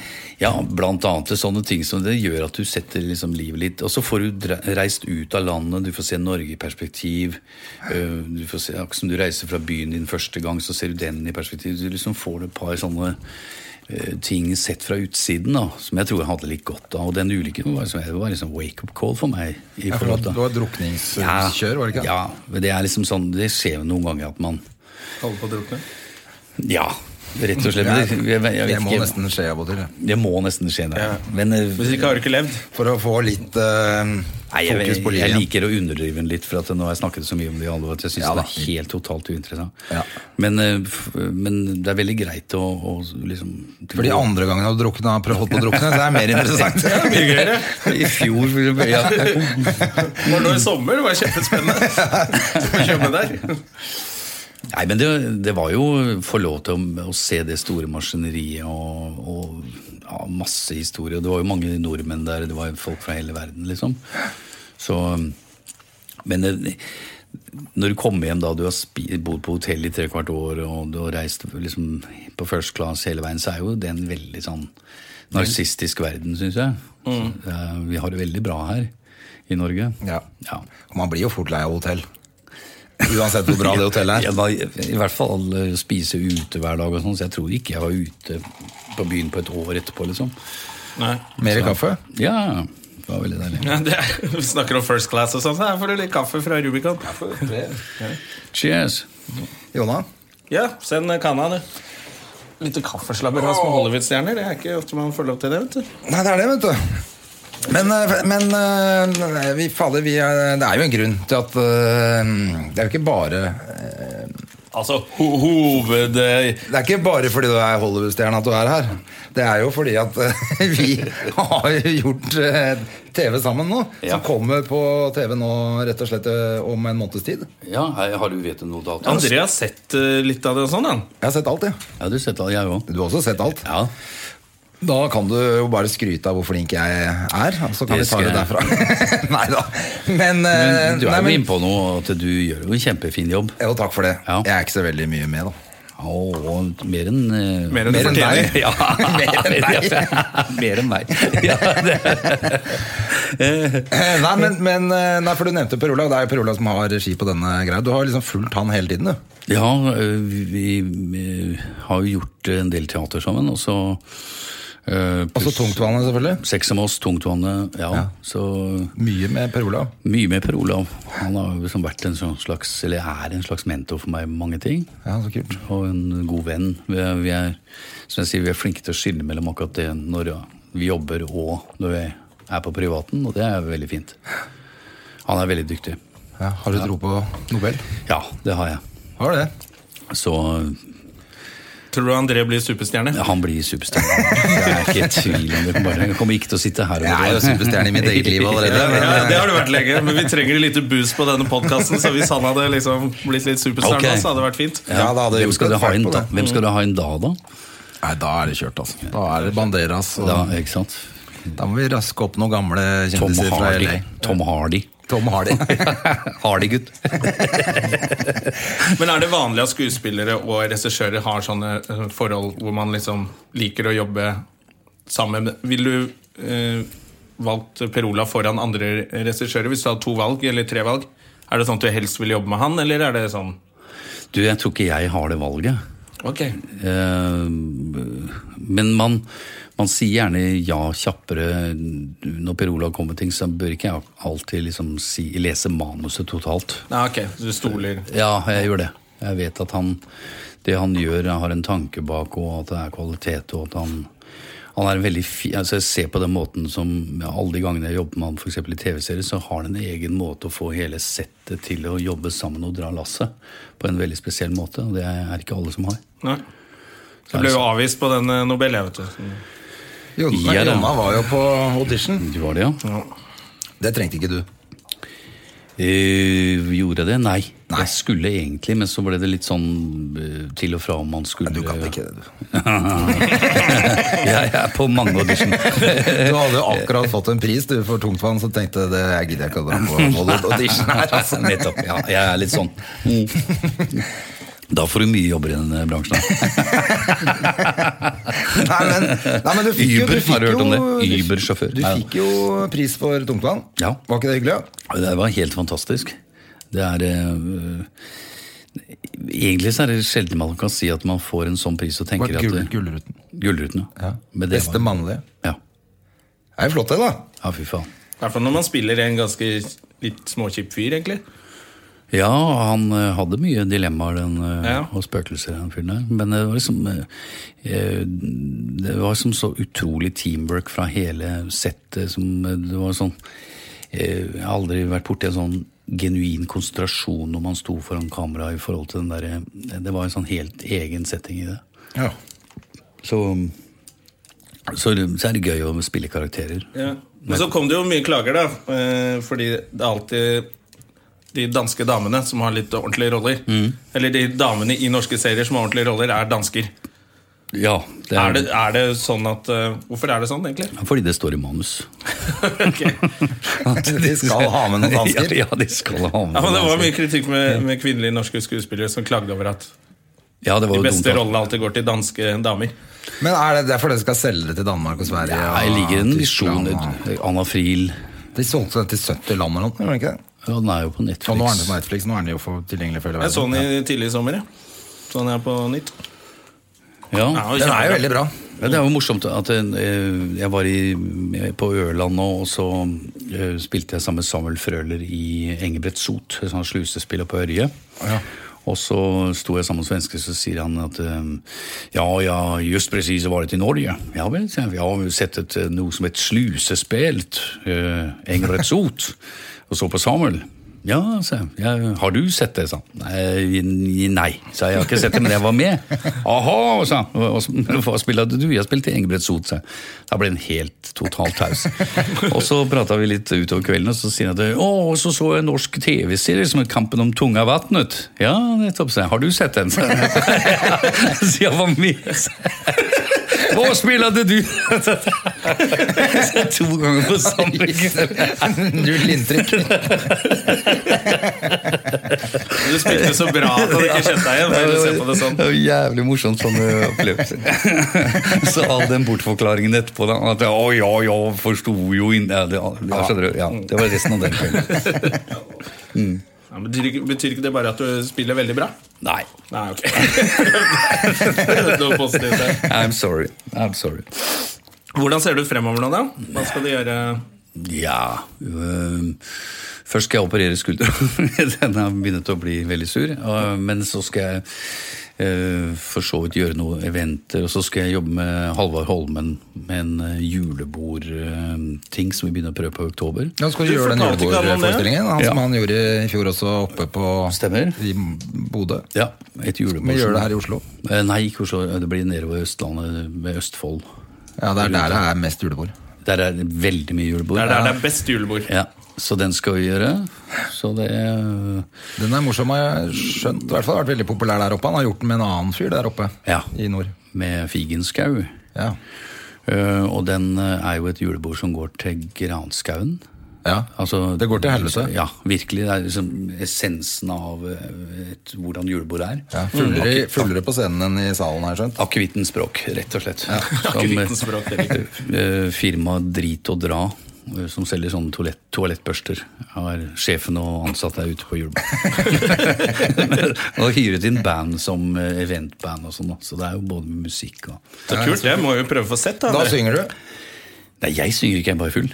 Ja, blant annet til sånne ting som det gjør at du setter liksom livet litt Og så får du dre- reist ut av landet, du får se Norge i perspektiv. øh, Du får se, akkurat som du reiser fra byen din første gang, så ser du den i perspektiv. Du liksom får et par sånne øh, ting sett fra utsiden da, som jeg tror jeg hadde litt godt av. Og den ulykken var, som jeg- det var liksom wake-up call for meg. i Ja, for forhold det til- var drukningskjør, var det ikke? Ja, men det er liksom sånn, det skjer jo noen ganger at man Holder på å drukne. Ja, rett og slett. Men det, jeg, jeg, det vet må ikke, nesten skje av og til. ja. det må nesten skje. Ja. Ja. Men øh, Hvis ikke har du ikke levd. For å få litt eh, Nei, jeg, fokus på jeg, jeg livet. liker å underdrive den litt, for at nå har jeg snakket så mye om det i alle år at jeg syns Ja det da. er helt totalt uinteressant. Ja. Men, eh, f- men det er veldig greit å, å liksom For de andre gangene du har druknet, har prøvd- holdt på å drukne, så er det mer interessant. Mye gøyere. I fjor for eksempel, ja. Det var nå i sommer, det var kjempespennende. Skal vi kjøre med der? Nei, men det, det var jo få lov til å, å se det store maskineriet og, og ja, masse historie. Og det var jo mange nordmenn der, det var jo folk fra hele verden, liksom. Så Men det, når du kommer hjem da, du har spi, bodd på hotell i tre kvart år, og du har reist liksom, på first class hele veien, så er jo det en veldig sånn narsistisk verden, syns jeg. Så, eh, vi har det veldig bra her i Norge. Ja. ja. Og man blir jo fort lei av hotell. Uansett hvor bra det hotellet Ja, er. da, I hvert fall eh, spise ute hver dag, og sånn, så jeg tror ikke jeg var ute på byen på et år etterpå. liksom. Nei. Mer kaffe? Ja, det var veldig deilig. Ja, det er, vi snakker om first class og sånn, så her får du litt kaffe fra Rubicon. Cheers! Jonna? Ja, send kanna, du. Lite kaffeslabber hos med Hollywood-stjerner. Det er ikke ofte man får lov til det. vet du Nei, det er det, vet du. Men, eh, men eh, nei, vi, fader, vi er, det er jo en grunn til at eh, Det er jo ikke bare eh, Altså, ho hoved... Det er ikke bare fordi du er Hollywood-stjerne at du er her. Det er jo fordi at eh, vi har jo gjort eh, TV sammen nå. Ja. Som kommer på TV nå rett og slett eh, om en måneds tid. Ja, hei, Har du vet du noe dato? André har sett eh, litt av det og sånn, han. Jeg har sett alt, jeg. Ja, du har sett det, jeg òg. Du har også sett alt. Ja. Da kan du jo bare skryte av hvor flink jeg er, og så kan Det vi ta det skal derfra. nei da. Men, eh, Men du er nei, jo men- inne på noe, at du gjør jo en kjempefin jobb. Jo, takk for det. Ja. Jeg er ikke så veldig mye med, da. Og, og mer enn eh, Mer enn du Mer enn fortjener. deg. Ja, Mer enn Mer enn meg. Ja, det. Nei, men, men eh, nei, for du nevnte Per Olav. Det er jo Per Olav som har regi på denne greia. Du har liksom fulgt han hele tiden, du. Ja, ø, vi, vi ø, har jo gjort eh, en del teater sammen, og så ø, Også pluss- tungtvannet, selvfølgelig. Seks om oss, Tungtvannet, ja. Altså- Ja. Så Mye med Per Olav. mye med Per Olav. Han har jo liksom vært en sånn slags, eller er en slags mentor for meg i mange ting. Ja, så kult. Og en god venn. Vi er, vi er, som jeg sier, vi er flinke til å skille mellom akkurat det når vi jobber og når vi er på privaten, og det er veldig fint. Han er veldig dyktig. Ja, har du tro på Nobel? Ja, det har jeg. Har det. Så Tror du André blir superstjerne? ja, han blir superstjerne. Det er ikke tvil om det. Bare, jeg kommer ikke til å sitte her og Jeg er jo superstjerne i mitt eget liv allerede. Ja, Men, eh, ja, det har du vært lenge, men vi trenger litt boost på denne podkasten. Så hvis han hadde liksom blitt litt superstjerne, Ok. okay. så hadde det vært fint. ja, da hadde jeg Hvem gjort skal et du ha fart inn på da? det. Hvem skal du ha inn da, da? Nei, da er det kjørt, altså. Da er det Banderas. Og da da, ikke sant? må vi raske opp noen gamle Tom kjendiser fra Hardy. LA. Tom Hardy. Tom Hardy. Hardy-gutt. Men er det vanlig at skuespillere og regissører har sånne eh, forhold hvor man liksom liker å jobbe sammen? Ville du eh, valgt Per Olav foran andre regissører hvis du hadde to valg, eller tre valg? Er det sånn at du helst vil jobbe med han, eller er det sånn Du, jeg tror ikke jeg har det valget. Ok. Eh, Men man, man sier gjerne ja kjappere når Per Olav kommer med ting, så bør ikke jeg alltid liksom si, lese manuset totalt. Nei, ok, så du stoler Ja, jeg gjør det. Jeg vet at han, det han gjør, har en tanke bak, og at det er kvalitet, og at han, han er en veldig fi, altså Jeg ser på den måten som ja, alle de gangene jeg jobber med han for eksempel i TV-serier, så har han en egen måte å få hele settet til å jobbe sammen og dra lasset på en veldig spesiell måte, og det er ikke alle som har. Nei. Så ble jo avvist på den eh, Nobel, jeg, vet du. Jonna, Ja, da. Jonna var jo på audition. Du var det, ja? Det trengte ikke du. Eh, gjorde jeg det? Nei. Jeg skulle egentlig, men så ble det litt sånn eh, til og fra om man skulle Du kan ikke det, du. jeg er på mange auditioner. Du hadde jo akkurat fått en pris du, for tungtvann, så tenkte jeg, det jeg gidder jeg ikke å dra på Mollet audition her. Altså. Mm. Nettopp. Ja, jeg er litt sånn. Da får du mye jobber i denne bransjen. da. Nei, men, nei, men du fikk jo, du Uber, fikk har du hørt om jo- det? du fikk- Uber-sjåfør. Du Nei, fikk jo pris for tungtvann. Ja. Var ikke det hyggelig? da? Det var helt fantastisk. Det er eh, Egentlig så er det sjelden man kan si at man får en sånn pris og tenker Var at gull- det- Gullruten. Gullruten, ja. Men det Beste var- mannlige. Ja. Det er jo flott, det, da. ja, fy faen. I hvert fall når man spiller en ganske litt småkjip fyr, egentlig. Ja, han eh, hadde mye dilemmaer den, eh, Ja. og spøkelser, den fyren der. Men det var liksom eh, eh, Det var liksom så utrolig teamwork fra hele settet som eh, Det var sånn eh, Jeg har aldri vært borti en sånn genuin konsentrasjon når man sto foran kamera i forhold til den derre Det var en sånn helt egen setting i det. Ja. Så, mm, så, så er det gøy å spille karakterer. Ja. Men så kom det jo mye klager, da. eh, Fordi det er alltid de danske damene som har litt ordentlige roller. Eller de damene i norske serier som har ordentlige roller, er dansker. Ja, det Er er, det, er det sånn at eh, Hvorfor er det sånn, egentlig? Fordi det står i manus. De skal ha med noen dansker. Ja, ja, de skal ha med Ja, men Det var dansker. mye kritikk med, med kvinnelige norske skuespillere som klagde over at Ja, det var de jo dumt, beste da. rollene alltid går til danske damer. Men er det derfor dere skal selge det til Danmark og Sverige? Nei, og ligger en Tyskland, visjon og- Anna Friel De solgte den til 70 land eller noe, gjorde de ikke det? ja, Den er jo på Og nå er den Netflix. på Netflix, nå er den jo for tilgjengelig for hele Jeg så verden. den i tidlig i sommer. Ja. Sånn er på nytt. Ja. Ja, Den er jo veldig bra. Ja, det er jo morsomt at eh, jeg var i, eh, på Ørland nå, og så eh, spilte jeg sammen med Samuel Frøler i Engebret Sot, et sånt slusespiller på Ørje. Og så sto jeg sammen med svensker, så sier han at eh, ja, ja, just precis varit i Norge. Ja vel, sier jeg, jeg har jo sett et, eh, noe som et slusespilt, uh, Engebret Sot, og så på Samuel. Ja, sa jeg. «Ja, Har du sett det, sa han. Nei, nei, sa jeg. Jeg har ikke sett det, men jeg var med. Aha, sa han. «Og- og- Hva spilte du? Jeg spilte Engebret Sot, sa jeg. Da ble han helt totalt taus. Og så prata vi litt utover kvelden, og så sier han at å, og så så jeg en norsk TV-serie som het Kampen om tunga vattnet. Ja, nettopp, sa jeg. Har du sett den? sa jeg. Så jeg var med. sa jeg. Hva spilte du? Så jeg To ganger på samme kveld. Null inntrykk. Du spilte så bra at han ikke kjente deg igjen. for å se på det sånn. Det var jævlig morsomt sånn eh, opplevelse. så all den bortforklaringen etterpå, da, at å ja, ja, forsto jo inn... Ja, det, ja, skjønner du. Ja, det var resten av den kvelden. Ja, men betyr, ikke- betyr ikke det bare at du spiller veldig bra? Nei. Nei, ok. Noe positivt der. I'm sorry. I'm sorry. Hvordan ser du fremover nå, da? Hva skal du gjøre? Ja øhm, Først skal jeg operere skuldra. Den har begynt å bli veldig sur. og- Men så skal jeg øh, for så vidt gjøre noen eventer, og så skal jeg jobbe med Halvard Holmen med en øh, julebordting øh, som vi begynner å prøve på i oktober. Nå skal du, Du gjøre den fortalte ikke alle om det. julebordforestillingen. Han som Ja. han gjorde i fjor også, oppe på Stemmer. i Bodø. Ja, et julebord. Vi gjør som- det her i Oslo. Eh, Nei, ikke Oslo. Det blir nedover Østlandet, ved Østfold. Ja, det er der det er mest julebord. Der er det veldig mye julebord. Det er der det er best julebord. Ja, Så den skal vi gjøre. Så det er Den er morsom, har jeg skjønt. I hvert fall har vært veldig populær der oppe. Han har gjort den med en annen fyr der oppe Ja. i nord. med Figenskau. Ja. Eh, og den eh, er jo et julebord som går til granskauen. ja. Altså, Det går til helvete. Ja, virkelig. Det er liksom essensen av eh, et, hvordan julebord er. Ja, fullere, fullere på scenen enn i salen, har jeg skjønt. Akevittens språk, rett og slett. Akevittens språk, det er eh, Firmaet Drit og Dra, eh, som selger sånne toalett, toalettbørster, har sjefen og ansatte er ute på julebord. og hyret inn band som eh, eventband og sånn, da. så det er jo både med musikk og Så kult, det må vi jo prøve å få sett. Da, Da synger du. Nei, jeg synger ikke, jeg er bare full.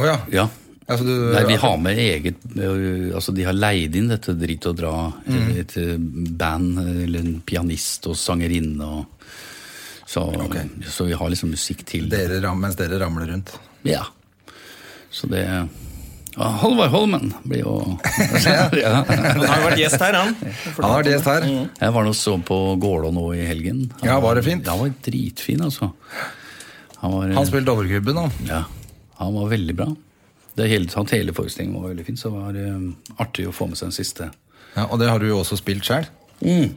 Å ja. Ja. Ja, så du, Nei, vi har med eget eh, Altså, de har leid inn dette Drit og Dra, Mm. eh, et eh, band, eh, eller en pianist og sangerinne og så, så vi har liksom musikk til det. dere, ram- mens dere ramler rundt. Ja. Så det ja, Halvard Holmen blir jo ja. Han har jo vært gjest her, han. Han har vært gjest her. Jeg var nå så på Gålå nå i helgen. Han Ja, var det fint? Han var dritfin, altså. Han var, eh, Han spilte Dovreklubben, han. ja, han var veldig bra. Det hele tatt, hele forestillingen var veldig fin, så det var eh, artig å få med seg den siste. Ja, og det har du jo også spilt sjøl. Mm.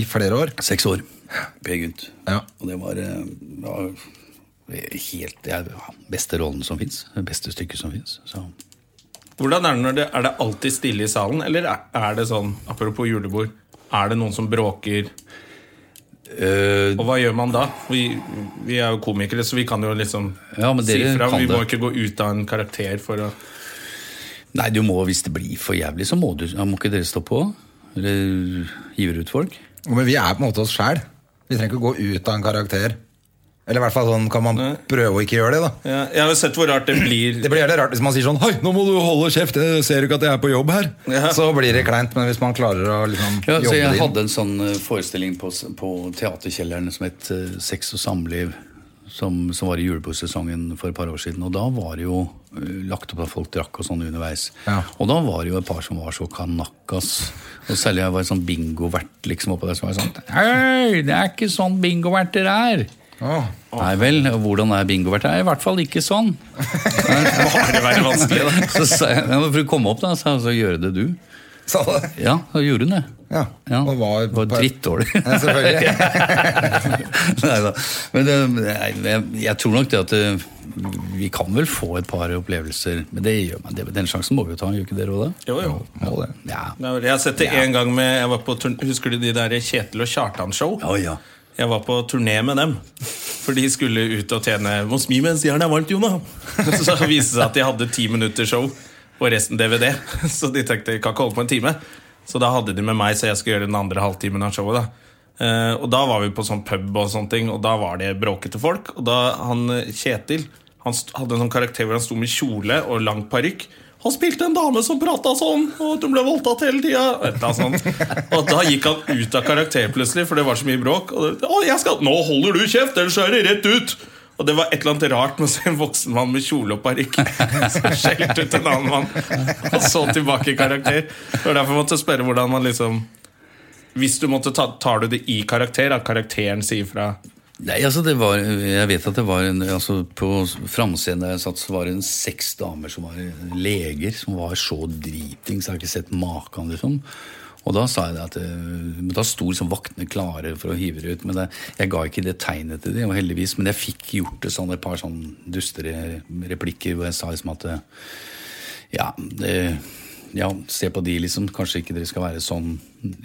I flere år. Seks år, Per Gynt. Ja. Og det var, eh, det var helt Det er den beste rollen som fins. Det beste stykket som fins. Så Hvordan Er det når det er det alltid stille i salen, eller er- er det sånn, apropos julebord, er det noen som bråker? Eh, Og hva gjør man da? Vi, vi er jo komikere, så vi kan jo liksom Ja, men si dere fra. kan Vi må det. ikke gå ut av en karakter for å Nei, du må, hvis det blir for jævlig, så må du ja, Må ikke dere stå på? Eller hiver ut folk? Men vi er på en måte oss sjæl. Vi trenger ikke å gå ut av en karakter. Eller i hvert fall sånn kan man prøve å ikke gjøre det. da ja, Jeg har jo sett hvor rart det blir. Det blir jævlig rart hvis man sier sånn Hei, nå må du holde kjeft, jeg ser du ikke at jeg er på jobb her? Ja. Så blir det kleint, men hvis man klarer å liksom Ja, så jobbe jeg det inn hadde en sånn eh, forestilling på, s- på Teaterkjelleren som het eh, Sex og samliv, som, som var i julebordsesongen for et par år siden. Og da var det jo eh, lagt opp at folk drakk og sånn underveis. Ja. Og da var det jo et par som var så kanakkas. Og særlig jeg var en sånn bingovert liksom oppå der som var sånn Hei, det er ikke sånn bingoverter er! Åh. Nei vel, og hvordan er bingovert? Det er i hvert fall ikke sånn. Bare være vanskelig, da. Så sa jeg, «Ja, men for å komme opp da, sa jeg, så gjøre det du. Sa det. Ja, da gjorde hun det. Ja. Ja, Og var, det var drittdårlig. Ja, selvfølgelig. Neida. Men det, jeg, jeg tror nok det at eh, vi kan vel få et par opplevelser. Men det gjør man. Det, den sjansen må vi jo ta, gjør ikke dere òg det? Jo, jo. Må det. Ja. Det er vel- Jeg har sett det en gang med jeg var på turn Husker du de der Kjetil og Kjartan-show? Ja, ja. Jeg var på turné med dem. For de skulle ut og tjene Må smi mens jernet er varmt, Jona! Så viste det seg at de hadde ti minutter show og resten DVD. Så de tenkte de kan ikke holde på en time. Så da hadde de med meg, så jeg skulle gjøre den andre halvtimen av showet. da Eh, og da var vi på sånn pub, og sånne ting Og da var det bråkete folk. Og da han eh, Kjetil Han st hadde en sånn karakter hvor han sto med kjole og lang parykk. Han spilte en dame som prata sånn, og at hun ble voldtatt hele tida. Sånn. Og da gikk han ut av karakter plutselig, for det var så mye bråk. Og det, å, jeg skal, 'Nå holder du kjeft, ellers er det rett ut!' Og det var et eller annet rart med å se en voksen mann med kjole og parykk som skjelte ut en annen mann, og så tilbake i karakter. Det var derfor jeg måtte spørre hvordan man liksom Hvis du måtte ta, Tar du det i karakter? At karakteren sier fra? Nei, altså det var, Jeg vet at det var en, altså På framsiden der jeg satt, så var det en seks damer som var leger, som var så dritings. Jeg har ikke sett maken, liksom. Og da sa jeg det at eh, men Da sto liksom vaktene klare for å hive det ut. Men det, jeg ga ikke det tegnet til dem, og heldigvis. Men jeg fikk gjort det sånn et par sånn dustere replikker hvor jeg sa liksom at eh, ja, det, ja, se på de, liksom. Kanskje ikke dere skal være sånn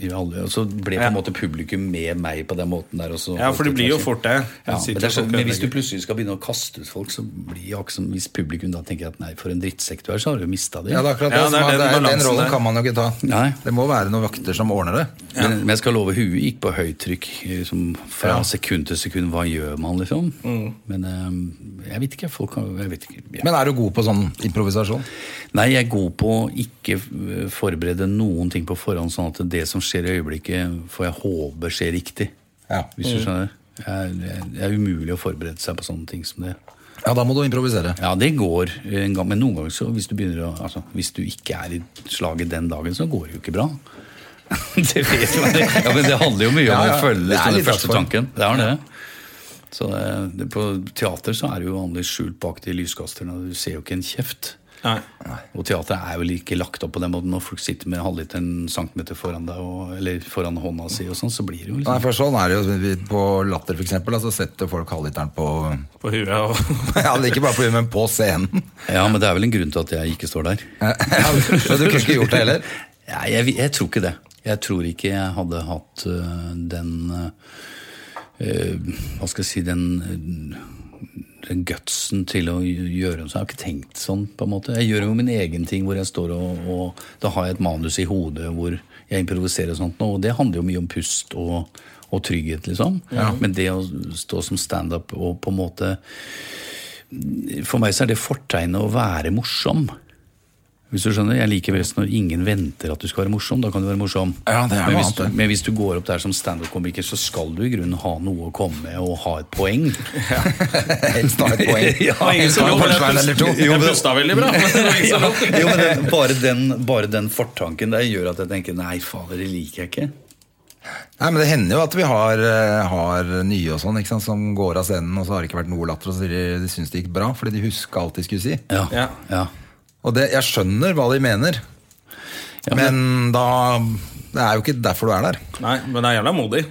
i alle Og så ble på en måte publikum med meg på den måten der. Og så, Ja, for det blir jo fort det. Ja, Sitter men, det er sånn, folk og men hvis du ødelegger. plutselig skal begynne å kaste ut folk, så blir jo ikke som Hvis publikum da tenker at nei, for en drittsekk du er, så har du jo mista det. Ja, det er akkurat det. Ja, det er som er- den det er, den balansen rollen der. kan man jo ikke ta. Nei. Det må være noen vakter som ordner det. men, men jeg skal love, huet gikk på høytrykk liksom, fra sekund til sekund. Hva gjør man, liksom? Mm. Men eh, jeg vet ikke. Folk har Jeg vet ikke. Ja. Men er du god på sånn improvisasjon? Nei, jeg er god på å ikke eh, forberede noen ting på forhånd, sånn at det som skjer i øyeblikket, får jeg håpe skjer riktig. Ja. Hvis du skjønner? Jeg, jeg, det er umulig å forberede seg på sånne ting som det. Ja, da må du improvisere. Ja, det går en gang, men noen ganger så hvis du begynner å Altså, hvis du ikke er i slaget den dagen, så går det jo ikke bra. det vet man. Ja, men det handler jo mye om Ja, ja. å Det følge er liksom, litt den første plattform. tanken. Det er det. Så eh, det, på teater så er det jo vanlig skjult bak de lyskasterne, og du ser jo ikke en kjeft. Nei. Og teater er vel ikke lagt opp på den måten. Når folk sitter med halvliteren centimeter foran deg, og, eller foran hånda si, og sånn, så blir det jo Nei, liksom for sånn er det jo vi- på Latter, for eksempel. da, Så setter folk halvliteren på På huet og Ja, det er ikke bare på, men på scenen. Ja, men det er vel en grunn til at jeg ikke står der. Ja, men du kunne ikke gjort det heller. Nei, jeg, vi- jeg tror ikke det. Jeg tror ikke jeg hadde hatt øh, den øh, øh, Hva skal jeg si Den, øh, den gutsen til å gjøre noe. Så jeg har ikke tenkt sånn, på en måte. Jeg gjør jo min egen ting hvor jeg står og, og Da har jeg et manus i hodet hvor jeg improviserer og sånt nå, og det handler jo mye om pust og, og trygghet, liksom. Men det å stå som standup og på en måte For meg så er det fortegnet å være morsom. Hvis du skjønner, Jeg liker best når ingen venter at du skal være morsom. Da kan du være morsom. Ja, det er men, noe hvis annet, du, det. men hvis du går opp der som standup-komiker, så skal du i grunnen ha noe å komme med og ha et poeng. Helst ha et poeng. Ja, Og ingen helst som ha lo, en men punchline eller jeg to. pust- jeg pusta veldig bra. men det var ingen som lo. jo, men det, bare, den, bare den fortanken der gjør at jeg tenker nei, fader, det liker jeg ikke. Nei, men Det hender jo at vi har, eh, har nye og sånn ikke sant, som går av scenen, og så har det ikke vært noe latter, og så sier de de syns det gikk bra, fordi de husker alt de skulle si. Ja, Ja. ja. Og det, jeg skjønner hva de mener, men da Det er jo ikke derfor du er der. Nei, men det er jævla modig.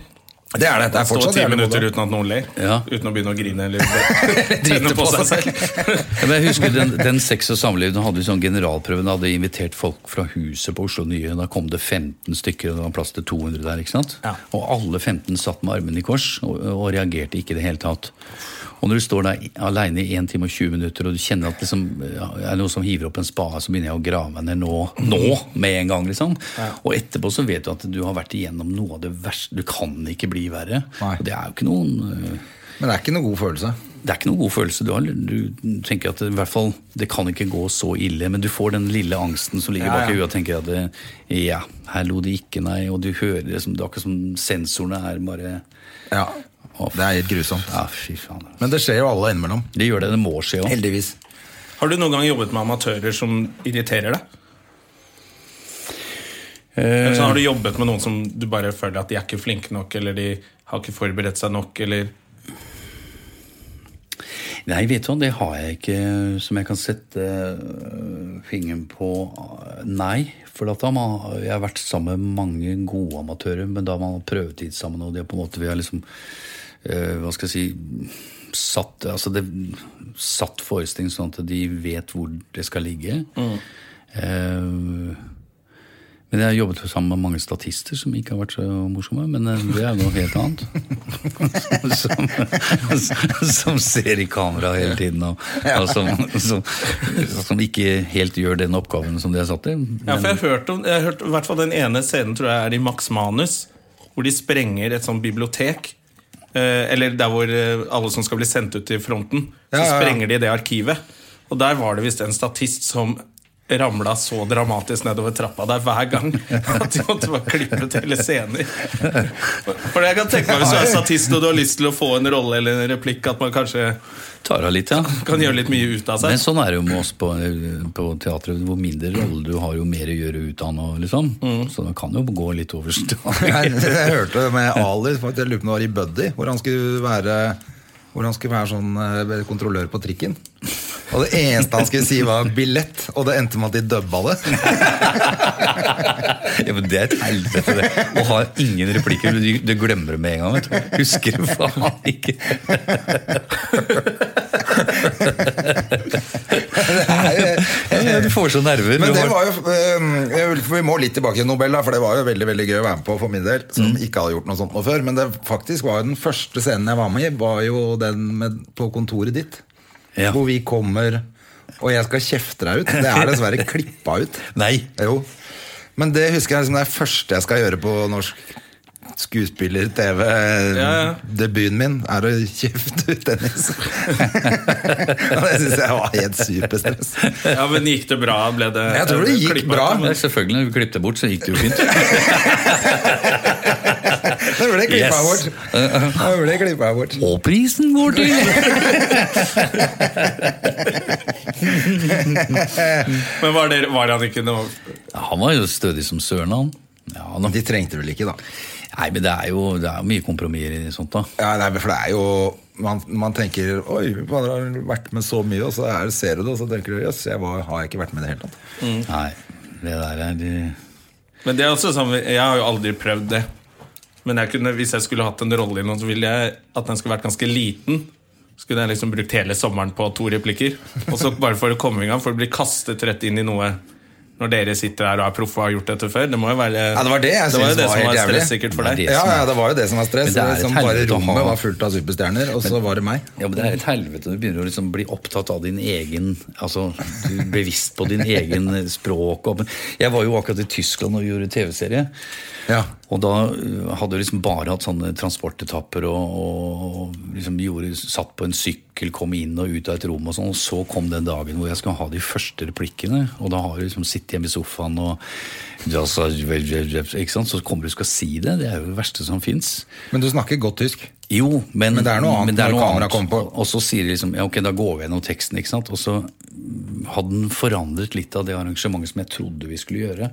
Det er det. Det er Stå fortsatt ti jævlig minutter modig. uten at noen ler. Ja. Uten å begynne å grine eller tenne på seg selv. Ja, men jeg husker den, den sex og samliv, da hadde vi sånn generalprøve, da hadde vi invitert folk fra huset på Oslo Nye, da kom det 15 stykker, og det var plass til 200 der, ikke sant? Ja. Og alle 15 satt med armene i kors, og, og reagerte ikke i det hele tatt. Og når du står der alene i 1 time og 20 minutter, og du kjenner at liksom, ja, er det noe som hiver opp en spade, så begynner jeg å grave meg ned nå, nå, med en gang, liksom. Og etterpå så vet du at du har vært igjennom noe av det verste, du kan ikke bli verre. Nei. Og det er jo ikke noen... øh, Men det er ikke noe god følelse. det er ikke noen god følelse. Du, har, du tenker at det, i hvert fall, det kan ikke gå så ille, men du får den lille angsten som ligger Ja, bak i ja. huet og tenker at det, ja, her lo de ikke, nei. Og du hører det som Det er akkurat som sensorene er bare Ja, Å, Det er helt grusomt. Ja, fy faen. Men det skjer jo alle innimellom. Det gjør det. Det må skje òg. Heldigvis. Har du noen gang jobbet med amatører som irriterer deg? Eller så har du jobbet med noen som du bare føler at de er ikke flinke nok, eller de har ikke forberedt seg nok, eller Nei, vet du hva, det har jeg ikke som jeg kan sette øh, fingeren på. Nei. For at da man, jeg har vært sammen med mange gode amatører, men da man har prøvetid sammen, og det er på en måte vi har liksom øh, Hva skal jeg si Satt, altså det, satt forestillingen sånn at de vet hvor det skal ligge. Eh, men jeg har jobbet sammen med mange statister som ikke har vært så morsomme, men eh, det er noe helt annet. som, som ser i kamera hele tiden, og, og som, som, som ikke helt gjør den oppgaven som de er satt til. Ja, for jeg har hørt om jeg har hørt, i hvert fall den ene scenen tror jeg er i Max Manus, hvor de sprenger et sånt bibliotek. Eh, eller der hvor eh, alle som skal bli sendt ut til fronten, så Ja, ja, ja. sprenger de det arkivet. Og der var det visst en statist som ramla så dramatisk nedover trappa der hver gang at de måtte bare klippe til hele scener. For jeg kan tenke meg Hvis du er statist og du har lyst til å få en rolle eller en replikk, at man kanskje Tar av litt, ja. kan gjøre litt mye ut av Men seg. sånn er det jo med oss på, på teatret. Hvor mindre rolle du har, jo mer å gjøre ut av noe, liksom. Mm. Så det kan jo gå litt over Jeg, staken. jeg hørte det med Ali, for jeg lurer på om det var i Buddy, hvor han skulle være, hvor han skulle være sånn eh, kontrollør på trikken. Og det eneste han skulle si, var 'billett', og det endte med at de dubba det. Ja, men det er et helvete, det. Å ha ingen replikker. Du, du glemmer det med en gang. vet du. Husker du faen ikke. Ja, Du får så nerver. Men Du det har- var jo eh, jeg vil- for Vi må litt tilbake til Nobel, da, for det var jo veldig veldig gøy å være med på for min del. Mm. Som ikke hadde gjort noe sånt noe før. Men det faktisk var jo den første scenen jeg var med i, var jo den med, på kontoret ditt. Ja. Hvor vi kommer, og jeg skal kjefte deg ut. Det er dessverre klippa ut. Nei. Jo. Men det husker jeg som det er første jeg skal gjøre på norsk ja. skuespiller-TV-debuten min, er å kjefte ut Dennis. Og det syns jeg var helt superstress. Ja, men gikk det bra? Ble det Jeg tror det gikk klippet? bra. Ja, selvfølgelig. Når vi klippet det bort, så gikk det jo fint. Det ble klippa Yes. bort. Det ble klippa bort. Og prisen går til! Men var, det, var han ikke noe Ja, Han var jo stødig som søren, han. Ja, han De trengte vel ikke, da. Nei, men det er jo det er jo mye kompromisser i sånt, da. Ja, nei, men for det er jo man, man tenker Oi, man har vært med så mye, og så er, ser du det, og så tenker du Jøss, jeg var, har jeg ikke vært med i det hele tatt. Nei, det der er de- Men det er også sånn, Jeg har jo aldri prøvd det. Men jeg kunne, hvis jeg skulle hatt en rolle i noen, så ville jeg at den skulle vært ganske liten. Så kunne jeg liksom brukt hele sommeren på to replikker. Og så bare for å komme i gang, for å bli kastet rett inn i noe når dere sitter her og er proffe og har gjort dette før. Det må jo være Ja, det var det jeg det, var synes jo det var som helt var jævlig. stressikkert for Nei, deg. det- Ja, ja, det var jo det som var stress. Men det er et liksom, bare helvete å ha- rommet var fullt av superstjerner, og så var det meg. Ja, men Det er et helvete. Du begynner å liksom bli opptatt av din egen altså du er Bevisst på din egen språk. og- Jeg var jo akkurat i Tyskland og gjorde TV-serie. Ja. Og da øh, hadde jeg liksom bare hatt sånne transportetapper og, og liksom gjorde, satt på en sykkel, kom inn og ut av et rom og sånn. Og så kom den dagen hvor jeg skal ha de første replikkene. Og da har du liksom sittet hjemme i sofaen og ja, så- ikke sant? Så kommer du og skal si det. Det er jo det verste som fins. Men du snakker godt tysk. Jo, men, Men det er noe annet når kameraet kommer på. Og så sier de liksom ja, ok, da går vi gjennom teksten, ikke sant. Og så hadde den forandret litt av det arrangementet som jeg trodde vi skulle gjøre.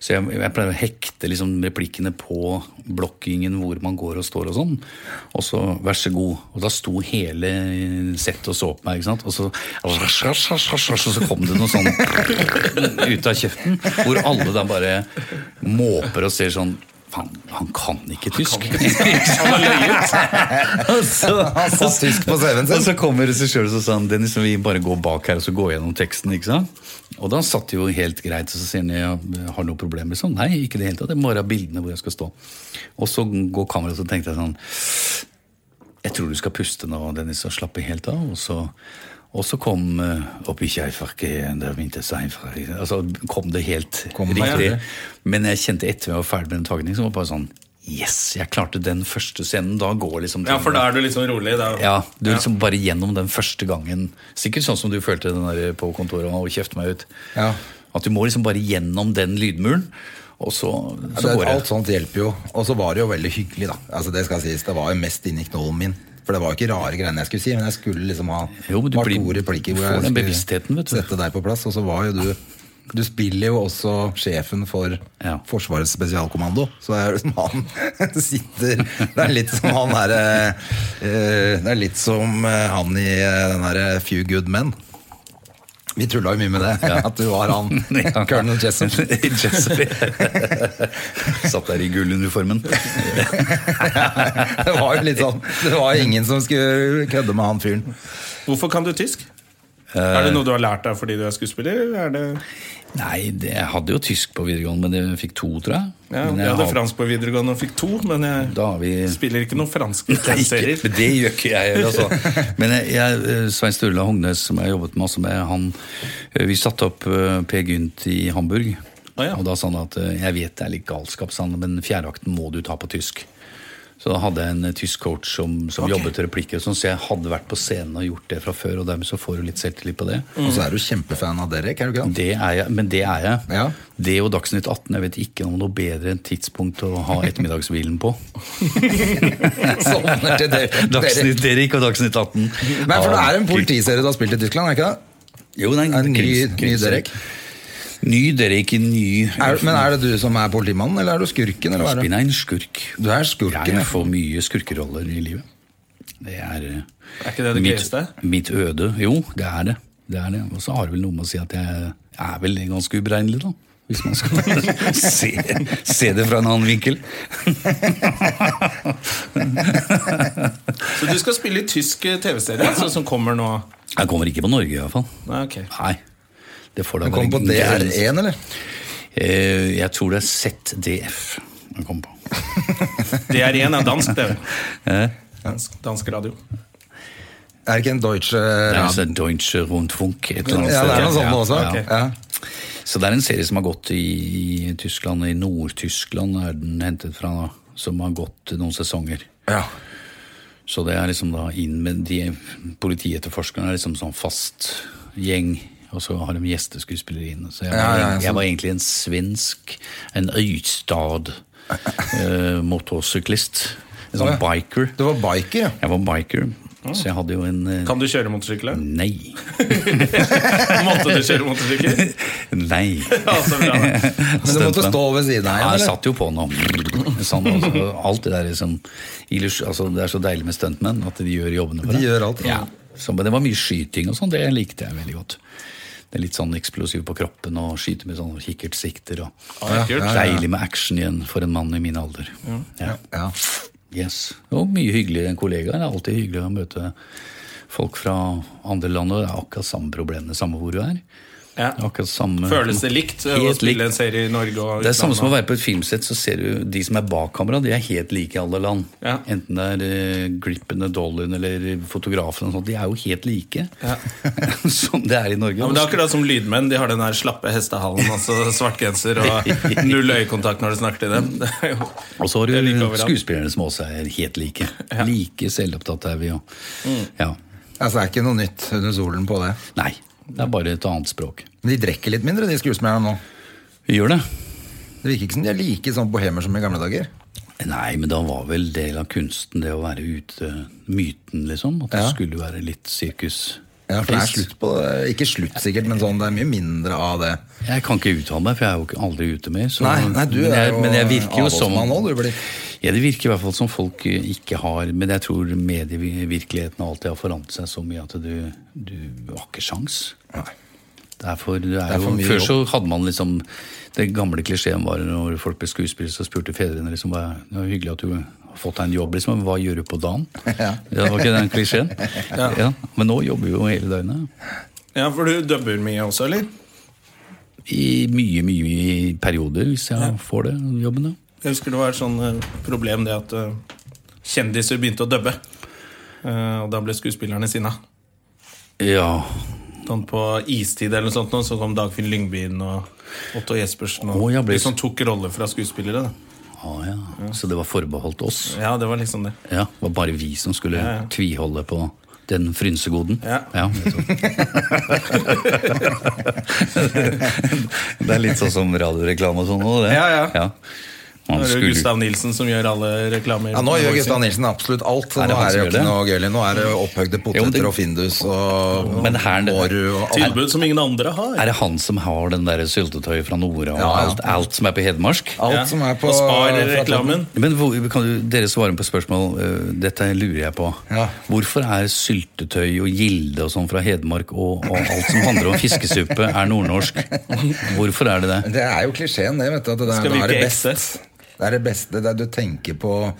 Så jeg, jeg pleier å hekte liksom replikkene på blokkingen hvor man går og står og sånn. Og så vær så god. Og da sto hele settet og så på meg, ikke sant. Og så, og så kom det noe sånn ut av kjeften, hvor alle da bare måper og ser sånn Faen, han kan ikke tysk! Han har løyet! Og så- Han satt tysk på CV-en sin. Og så kommer regissøren og så sa han, Dennis, vi bare går bak her og så går gjennom teksten. ikke sant? Og da satt det jo helt greit, og så sier han ja, har du noe problem. Sånn, Nei, ikke i det hele tatt. Det er bare bildene hvor jeg skal stå. Og så går kameraet, og så tenkte jeg sånn jeg tror du skal puste nå, Dennis, og slappe helt av. Og så, og så kom eh, opp i Kjærfarke, der vinte seg fra Altså kom det helt Kom det, riktig. ja. Men jeg kjente etter jeg var ferdig med den tagningen, så var det bare sånn Yes, jeg klarte den første scenen. Da går liksom Ja, for da er du liksom rolig. Da. Ja, du er liksom bare gjennom den første gangen. Sikkert sånn som du følte den der på kontoret og kjefte meg ut. Ja. At du må liksom bare gjennom den lydmuren, og så, Ja, så det, går det. alt sånt hjelper jo. Og så var det jo veldig hyggelig, da. Altså Det skal sies, det var jo mest inni knollen min. For det var jo ikke rare greiene jeg skulle si, men jeg skulle liksom ha Jo, men du var blir- to replikker du hvor får jeg den skulle bevisstheten, vet du. sette deg på plass. Og så var jo du Du spiller jo også sjefen for Ja. Forsvarets spesialkommando, så det er jo liksom han sitter Det er litt som han derre Det er litt som eh, han i eh, den derre Few Good Men. Vi tulla jo mye med det, at du var han Ja. Colonel Jessup. Jessup. Satt der i gulluniformen. Det var jo litt sånn Det var ingen som skulle kødde med han fyren. Hvorfor kan du tysk? er det noe du har lært deg fordi du er skuespiller? Eller er det, Nei, det, jeg hadde jo tysk på videregående, men jeg fikk to, tror jeg. ja, men jeg, jeg hadde har- fransk på videregående og fikk to, men jeg Da har vi- spiller ikke noen franske Det er ikke, serier. men det gjør ikke jeg heller, altså. Men jeg, jeg, eh, Svein Sturla Hognes, som jeg jobbet masse med, han, eh, vi satte opp eh, Per Gynt i Hamburg. Å, ja. Og da sa han at eh, jeg vet det er litt galskap, sa han, men fjerdeakten må du ta på tysk. Så da hadde jeg en eh, tysk coach som, som jobbet til replikker, og sånn, så jeg hadde vært på scenen og gjort det fra før, og dermed så får du litt selvtillit på det. Og så er du kjempefan av Derek, er du ikke det? Det er jeg, men det er jeg. Ja. Det og Dagsnytt 18. Jeg vet ikke om noe bedre enn tidspunkt å ha ettermiddagshvilen på. Sovner til Ah, Derek. Dagsnytt Erik og Dagsnytt 18. Nei, for det er en politiserie du har spilt i Tyskland, er det ikke det? Jo, nei, En ny, krims- ny krims- Derek. Ny Derek, ny Er, men er det du som er politimannen, eller er du skurken? Eller hva er det? Spinn er en skurk. Du er skurken, ja. Jeg får mye skurkeroller i livet. Det er eh, Er ikke det det mitt- gøyeste? Mitt øde. Jo, det er det. det, er det. Og så har det vel noe med å si at jeg er vel ganske uberegnelig, da. Hvis man skal se, se det fra en annen vinkel. Så du skal spille i tysk eh, TV-serie, altså, som kommer nå? Jeg kommer ikke på Norge, i hvert fall. Nei, ok. Nei. Det får da Du kom på E. være DR1, eller? Eh, Jeg tror det er ZDF jeg kom på. Det er én av dansk TV. Dansk, dansk radio. Er det ikke en Deutsche Det er Ja, altså Deutsche Rundfunk. Et eller annet ja det er noe sted. sånt nå også. Ja, ja. Ja. Så det er en serie som har gått i, i Tyskland. I Nord-Tyskland er den hentet fra, da, som har gått noen sesonger. Ja. Så det er liksom da inn med de politietterforskerne er liksom sånn fast gjeng. Og så har de gjesteskuespillere inne. Så jeg var, Ja, ja, ja, jeg sånn. var egentlig en svensk, en Øystad eh, motorsyklist. En sånn Å, ja. biker. Du Mm. var biker, ja. Jeg var biker, så jeg hadde jo en eh, Kan du kjøre motorsykkel? da? Nei. Måtte du kjøre motorsykkel? Nei. Ja, så bra. Men du måtte stå ved siden av Ja, igjen, jeg eller? satt jo på nå. Sånn, altså, alt det der liksom illus- altså, Det er så deilig med stuntmenn at de gjør jobbene for De deg. gjør alt, ja. ja. så, Men det var mye skyting og sånn, det likte jeg veldig godt. Det er Litt sånn eksplosiv på kroppen og skyte med sånn kikkertsikter. Og Ja, kult. Deilig med action igjen for en mann i min alder. Ja. Ja. Yes. Og mye hyggeligere enn kollegaer. Det er alltid hyggelig å møte folk fra andre land. Og det er akkurat samme problemene, samme hvor du er. Ja. Det er Akkurat samme Føles det likt eh, å Helt likt. spille en serie i Norge og Det er samme som å utlandet? være på et filmsett, så ser du de som er bak kamera, de er helt like i alle land. Ja. Enten det er eh, grippene, dollaren eller fotografen og sånt, de er jo helt like som det er i Norge. Ja, men Det er akkurat som lydmenn. De har den der slappe hestehalen, altså svart genser og null øyekontakt når du snakker til dem. Det er jo Og så har det er like du overalt. skuespillerne som også er helt like. Like selvopptatt er vi jo. Ja. Altså, det er ikke noe nytt under solen på det. Nei, det er bare et annet språk. Men de drikker litt mindre, de skuespillerne nå. Vi gjør det. Det virker ikke som de er like sånn bohemer som i gamle dager. Nei, men da var vel del av kunsten det å være ute Myten, liksom. At det Ja. skulle være litt sirkus. Ja, for det er Trist. slutt på det. Ikke slutt, sikkert, men sånn, det er mye mindre av det. Jeg kan ikke uttale meg, for jeg er jo ikke- aldri ute mer. Så, Nei, nei, du men, er jeg, jo men jeg virker jo som avholdsmann nå, du blir. Ja, Det virker i hvert fall som folk eh, ikke har Men jeg tror medievirkeligheten og alt det har forandret seg så mye at du, du har ikke sjans. Nei. Det er for, det er er for jo, mye før jobb. så hadde man liksom Det gamle klisjeen var når folk ble skuespillere, så spurte fedrene liksom hva, det var hyggelig at du har fått deg en jobb, liksom, men hva gjør du på dagen? Ja. Det var ikke den klisjeen. ja. Men nå jobber vi jo hele døgnet. Ja, For du dubber mye også, eller? I mye, mye, mye perioder, hvis jeg får det, jobben, ja. Jeg husker det var et sånn eh, problem det at eh, kjendiser begynte å dubbe. Eh, og da ble skuespillerne sinna. Ja, Sånn på istid eller noe sånt, nå, så kom Dagfinn Lyngby inn og Otto Jespersen. Og Å, ja, ble- De som tok roller fra skuespillere. Da. ah, ja. Så det var forbeholdt oss. Ja, det var liksom det. Ja, Det var bare vi som skulle Ja, ja. tviholde på den frynsegoden. Ja. det er litt sånn som radioreklame og sånn nå, det. Ja, ja. Nå Man er det jo skulle- Gustav Nilsen som gjør alle reklamer. Ja, nå gjør Gustav Nilsen absolutt alt. Så Er det nå han er det som jo ikke gjør det? noe gøy lenger. Nå er det opphøgde Jo, det- poteter og Findus og Men her- Åru og alt. Tilbud som ingen andre har. Er det han som har den der syltetøyet fra Nora Ja, og ja. Alt, alt som er på Hedmark? Ja, alt som er på Og Spar-reklamen. Men hvor, kan du, Dere svarer på spørsmål. øh, Dette lurer jeg på. Ja. Hvorfor er syltetøy og gilde og sånn fra Hedmark og, og alt som handler om fiskesuppe, er nordnorsk? Hvorfor er det det? Det er jo klisjeen, det. vet du, at det, er, Skal det er det virke ekte. best. Det er det beste. Det er, du tenker på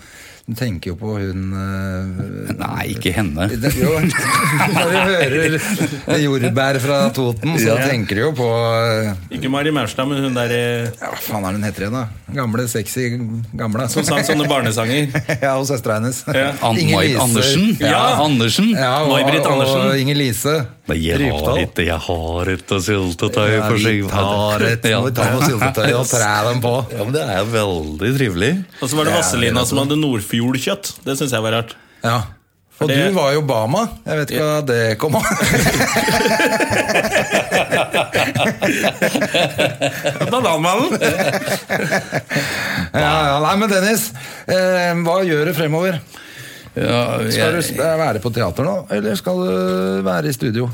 Du tenker jo på hun eh, Nei, ikke henne. det, jo, Når du hører jordbær fra Toten, så Ja. tenker du jo på eh, Ikke Mari Maurstad, men hun der eh, ja, Hva faen er det hun heter igjen, da? Gamle, sexy gamle. som sang sånne barnesanger. Ja, og søstera hennes. Ja. Inger Ann-Mai Lise. Andersen? Ja. Andersen? Ja, og, May-Britt Andersen. og Inger Lise. Nei, jeg har Rypdal. ikke, jeg har ikke syltetøy Ja, for vi seg. tar et, må vi ta noe syltetøy og træ dem på. Ja, men det er veldig trivelig. Og så var det Ja, Vazelina det er som hadde Nordfjordkjøtt. Det syns jeg var rart. Ja. Og det- du var jo Bama. Jeg vet ikke hva det kom av. Bananmannen! Ja, ja, nei, men Dennis, eh, hva gjør du fremover? Ja, Skal du jeg, s- eh, være på teater nå, eller skal du være i studio?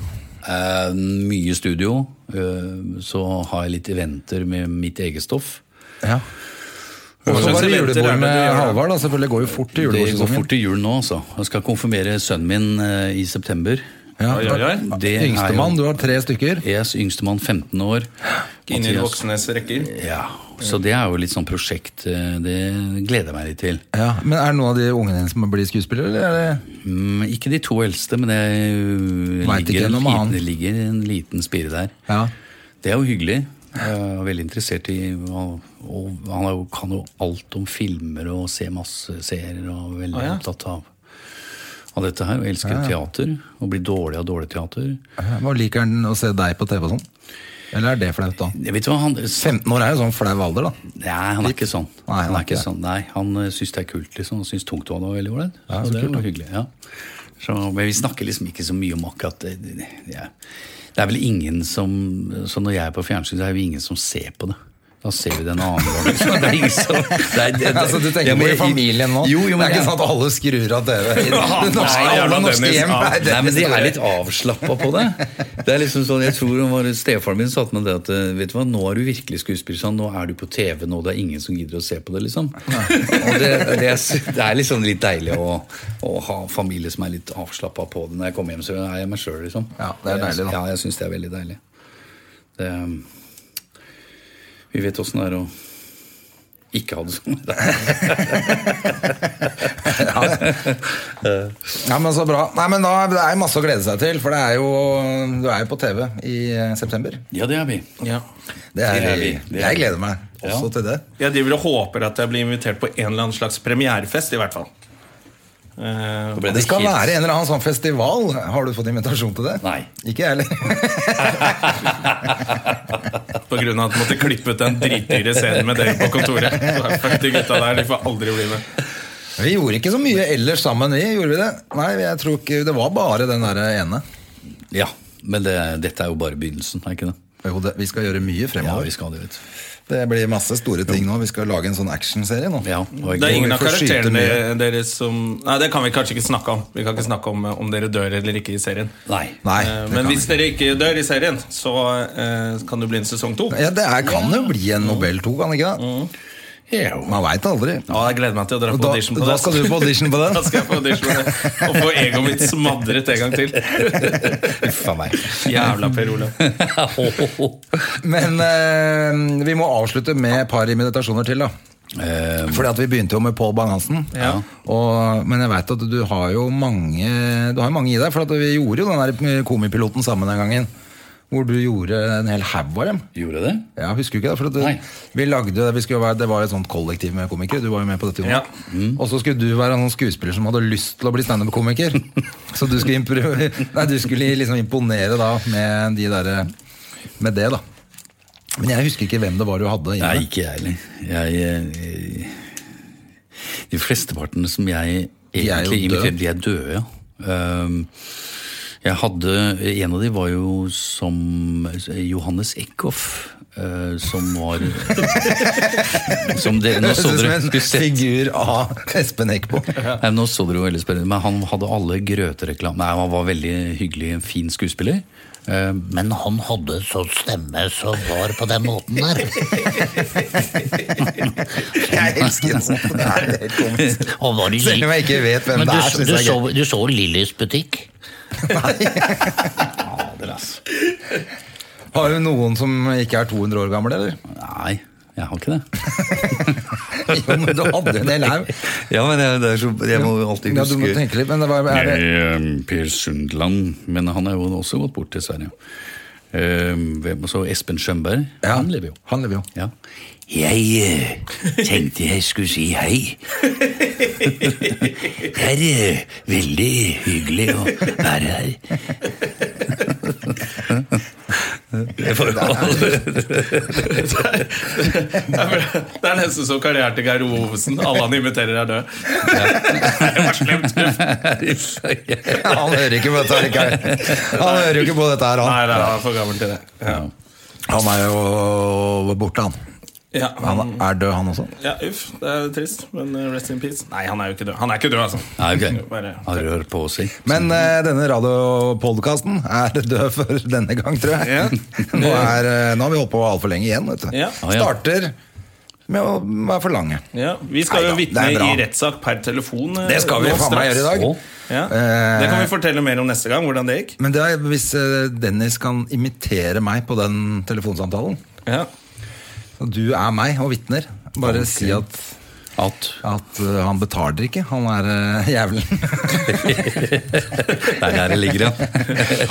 eh, mye studio. eh, Så har jeg litt eventer med mitt eget stoff. Ja. Og Hva så slags var det eventer er julebord det du med gjør da? Halvard, da. Selvfølgelig går jo fort til Det går julebordsesongen. fort til jul nå, altså. Jeg skal konfirmere sønnen min eh, i september. Ja, Oi, oi, oi. Det er jo- Yngstemann, du har tre stykker. Yes, yngstemann 15 år. Inn i de Mathias- voksnes rekker. Ja, så det er jo litt sånn prosjekt. eh, Det gleder jeg meg litt til. Ja, men Er det noen av de ungene dine som blir skuespillere? Eller er det? Mm, ikke de to eldste, men det øh, Vet ikke ligger, en noe med han. liten, det ligger en liten spire der. Ja. Det er jo hyggelig. Jeg er veldig interessert i og, og Han er jo, kan jo alt om filmer og ser masse serier og er veldig Å, ja. opptatt av, av dette her. Og elsker teater. Og blir dårlig av dårlig teater. Hva Liker han å se deg på TV og sånn? Eller er det flaut, da? Jeg vet du hva, han, 15 år er jo sånn flau alder, da. nei, han er ikke sånn. Nei, han han er er ikke ikke sånn. Nei, han øh, syns det er kult, liksom. Han syns tungtvann var veldig ålreit. Ja, så så det kult, var hyggelig. ja. Så, men vi snakker liksom ikke så mye om akkurat eh, det. Det, det, ja. det er vel ingen som Så når jeg er på fjernsyn, så er det jo ingen som ser på det. Da ser vi det en annen gang. liksom. Det er ingen som, det er, det, Altså, du tenker Ja, men på i jeg- familien nå? Jo, jo, men det er ikke jeg- sånn at alle skrur av TV? I det Nei, norske, alle jævla norske Dennis, hjem ja. er Nei, men de store. er litt avslappa på det. Det er liksom sånn, jeg tror han var Stefaren min satte meg det at eh, vet du hva, nå er du virkelig skuespiller. Sånn, nå er du på TV nå, det er ingen som gidder å se på det, liksom. Og det, det, er, s- det er liksom litt deilig å, å ha familie som er litt avslappa på det. Når jeg kommer hjem, så er jeg meg sjøl, liksom. Ja, det er deilig, da. Ja, jeg syns det er veldig deilig. Det, um, vi vet åssen det er å ikke ha det sånn. Ja, men så bra. Nei, men da, det er masse å glede seg til, for det er jo, du er jo på TV i eh, september. Ja, det er vi. Det er, Det er vi, det er jeg vi. gleder meg også Ja. til det. Jeg driver og håper at jeg blir invitert på en eller annen slags premierefest, i hvert fall. Eh, Da ble Det skal hits. være en eller annen sånn festival. Har du fått invitasjon til det? Nei. Ikke jeg heller. på grunn av at jeg måtte klippe ut den dritdyre scenen med dere på kontoret. Så fuck De gutta der, de får aldri bli med. Vi gjorde ikke så mye ellers sammen, vi. Gjorde vi det? Nei, jeg tror ikke Det var bare den der ene. Ja, men det, dette er jo bare begynnelsen, er ikke det? Jo, det, vi skal gjøre mye Ja, fremover. vi skal det, vet du. Det blir masse store ting nå. Vi skal lage en sånn actionserie nå. Ja, og Det er ingen av Vi får skyte karakterene mye. deres som Nei, det kan vi kanskje ikke snakke om. Vi kan ikke snakke om eh, om dere dør eller ikke i serien. Nei. Nei, Eh, det Men kan hvis vi ikke. dere ikke dør i serien, så eh, kan det bli en sesong to. ja, det er, kan jo bli Mm. en Nobel 2, kan det ikke det? Man veit aldri. Ja, jeg gleder meg til å dra Og på da, audition på da det. skal du på audition på Da den? skal jeg på audition på det. Og få egoet mitt smadret en gang til. Uff a meg. Jævla Per Olav. Men eh, vi må avslutte med et par imitasjoner til, da. Eh, Fordi at vi begynte jo med Pål Bang-Hansen. Ja. Og- Men jeg veit at du har jo mange Du har jo mange i deg. For at vi gjorde jo den der komipiloten sammen den gangen. Hvor du gjorde en hel haug av dem. gjorde jeg det? Ja, husker du ikke det? For at Nei. du, vi lagde, vi skulle jo være, det var jo et sånt kollektiv med komikere. Du var jo med på dette. Jonas. Ja. Og så skulle du være en sånn skuespiller som hadde lyst til å bli standup-komiker. så du skulle, impro nei, du skulle liksom imponere da med, de der, med det, da. Men jeg husker ikke hvem det var du hadde. Nei, Inne. ikke jeg heller. Jeg, eh, de flesteparten som jeg er jo egentlig døde. inviterer, de er døde, ja. Ehm, jeg hadde, En av de var jo som Johannes Eckhoff. eh, som var Som dere nå Det så høres ut som dere en skulle sett figur av Espen Eckbo. Nei, nå så dere jo veldig spennende Men han hadde alle grøtereklamer Nei, han var veldig hyggelig, en fin skuespiller Eh, Men han hadde sånn stemme Som var på den måten der Jeg elsker det. Det er helt komisk. Han var i Selv om jeg ikke vet hvem Men det du- er. synes du jeg er gøy. så- Du så Lillys butikk? Har du noen som ikke er 200 år gammel, eller? Nei, jeg har ikke det. Jo, men du hadde en hel haug. Ja, men jeg, det er så, jeg må jo alltid Ja, du må huske tenke litt, men det var, er det, Eh, Per Sundland, men han er jo også gått bort, dessverre. Eh, hvem- og Så Espen Schønberg. Ja, Han lever jo. Han lever jo. Ja. Jeg eh, tenkte jeg skulle si hei. Det er veldig hyggelig å være her. Det er det er nesten som karrieren til Geir Ove Ovesen. Alle han imiterer, er døde. Det var slemt. Nei, Ja, han hører ikke på dette her, ikke? Han hører jo ikke på dette her, han. nei, han er for gammel til det. Ja. Han er jo borte, han. Ja, Han han, er død, han også. ja, uff, det er trist, men eh, rest in peace. Nei, han er jo ikke død. Han er ikke død, altså. Nei, Bare- ok. Har du hørt på å si? Men eh, denne radiopodkasten er død for denne gang, tror jeg. Nå, er, eh, nå har vi holdt på altfor lenge igjen. Vet du. Ja. Starter med å være for lange. Ja, vi skal Neida, jo det vitne er bra. i rettssak per telefon. eh, Det skal vi nå faen meg straks. gjøre i dag. Ja. Eh, Det kan vi fortelle mer om neste gang, hvordan det gikk. Men det er hvis eh, Dennis kan imitere meg på den telefonsamtalen. Ja. Og Du er meg og vitner. Bare si at, At at eh, han betaler ikke. Han er eh, jævelen. Det er der det ligger, ja.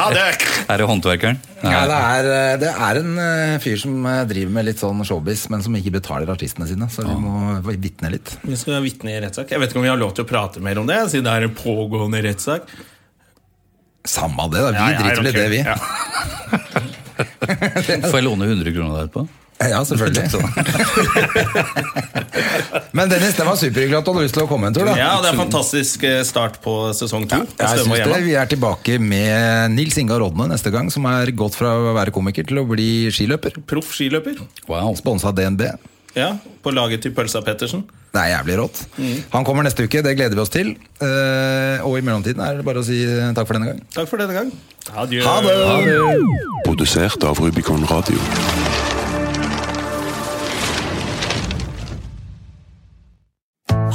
Ha det! Er det håndverkeren? Ja, det, er, eh, det er en eh, fyr som eh, driver med litt sånn showbiz, men som ikke betaler artistene sine. Så vi må vitne litt. Vi skal vitne i rettssak. Jeg vet ikke om vi har lov til å prate mer om det, siden det er en pågående rettssak. Samme av det, da. Vi Ja, ja, driter vel i ok. det, vi. Ja. Ja, Får jeg låne 100 kroner der etterpå? selvfølgelig. men Dennis, det var superhyggelig at du hadde lyst til å komme en tur, da. Ja, det er en fantastisk eh, start på sesong to. Jeg Stemme og synes det, Gjerman. Vi er tilbake med Nils Inga Rodne neste gang, som er gått fra å være komiker til å bli skiløper. Proff skiløper. Wow. Sponsa av DNB. Ja, På laget til Pølsa Pettersen. Det er jævlig rått. Mm. Han kommer neste uke, det gleder vi oss til. Eh, Og i mellomtiden er det bare å si eh, takk for denne gang. Takk for denne gang. Adjø. Produsert av Rubicon Radio.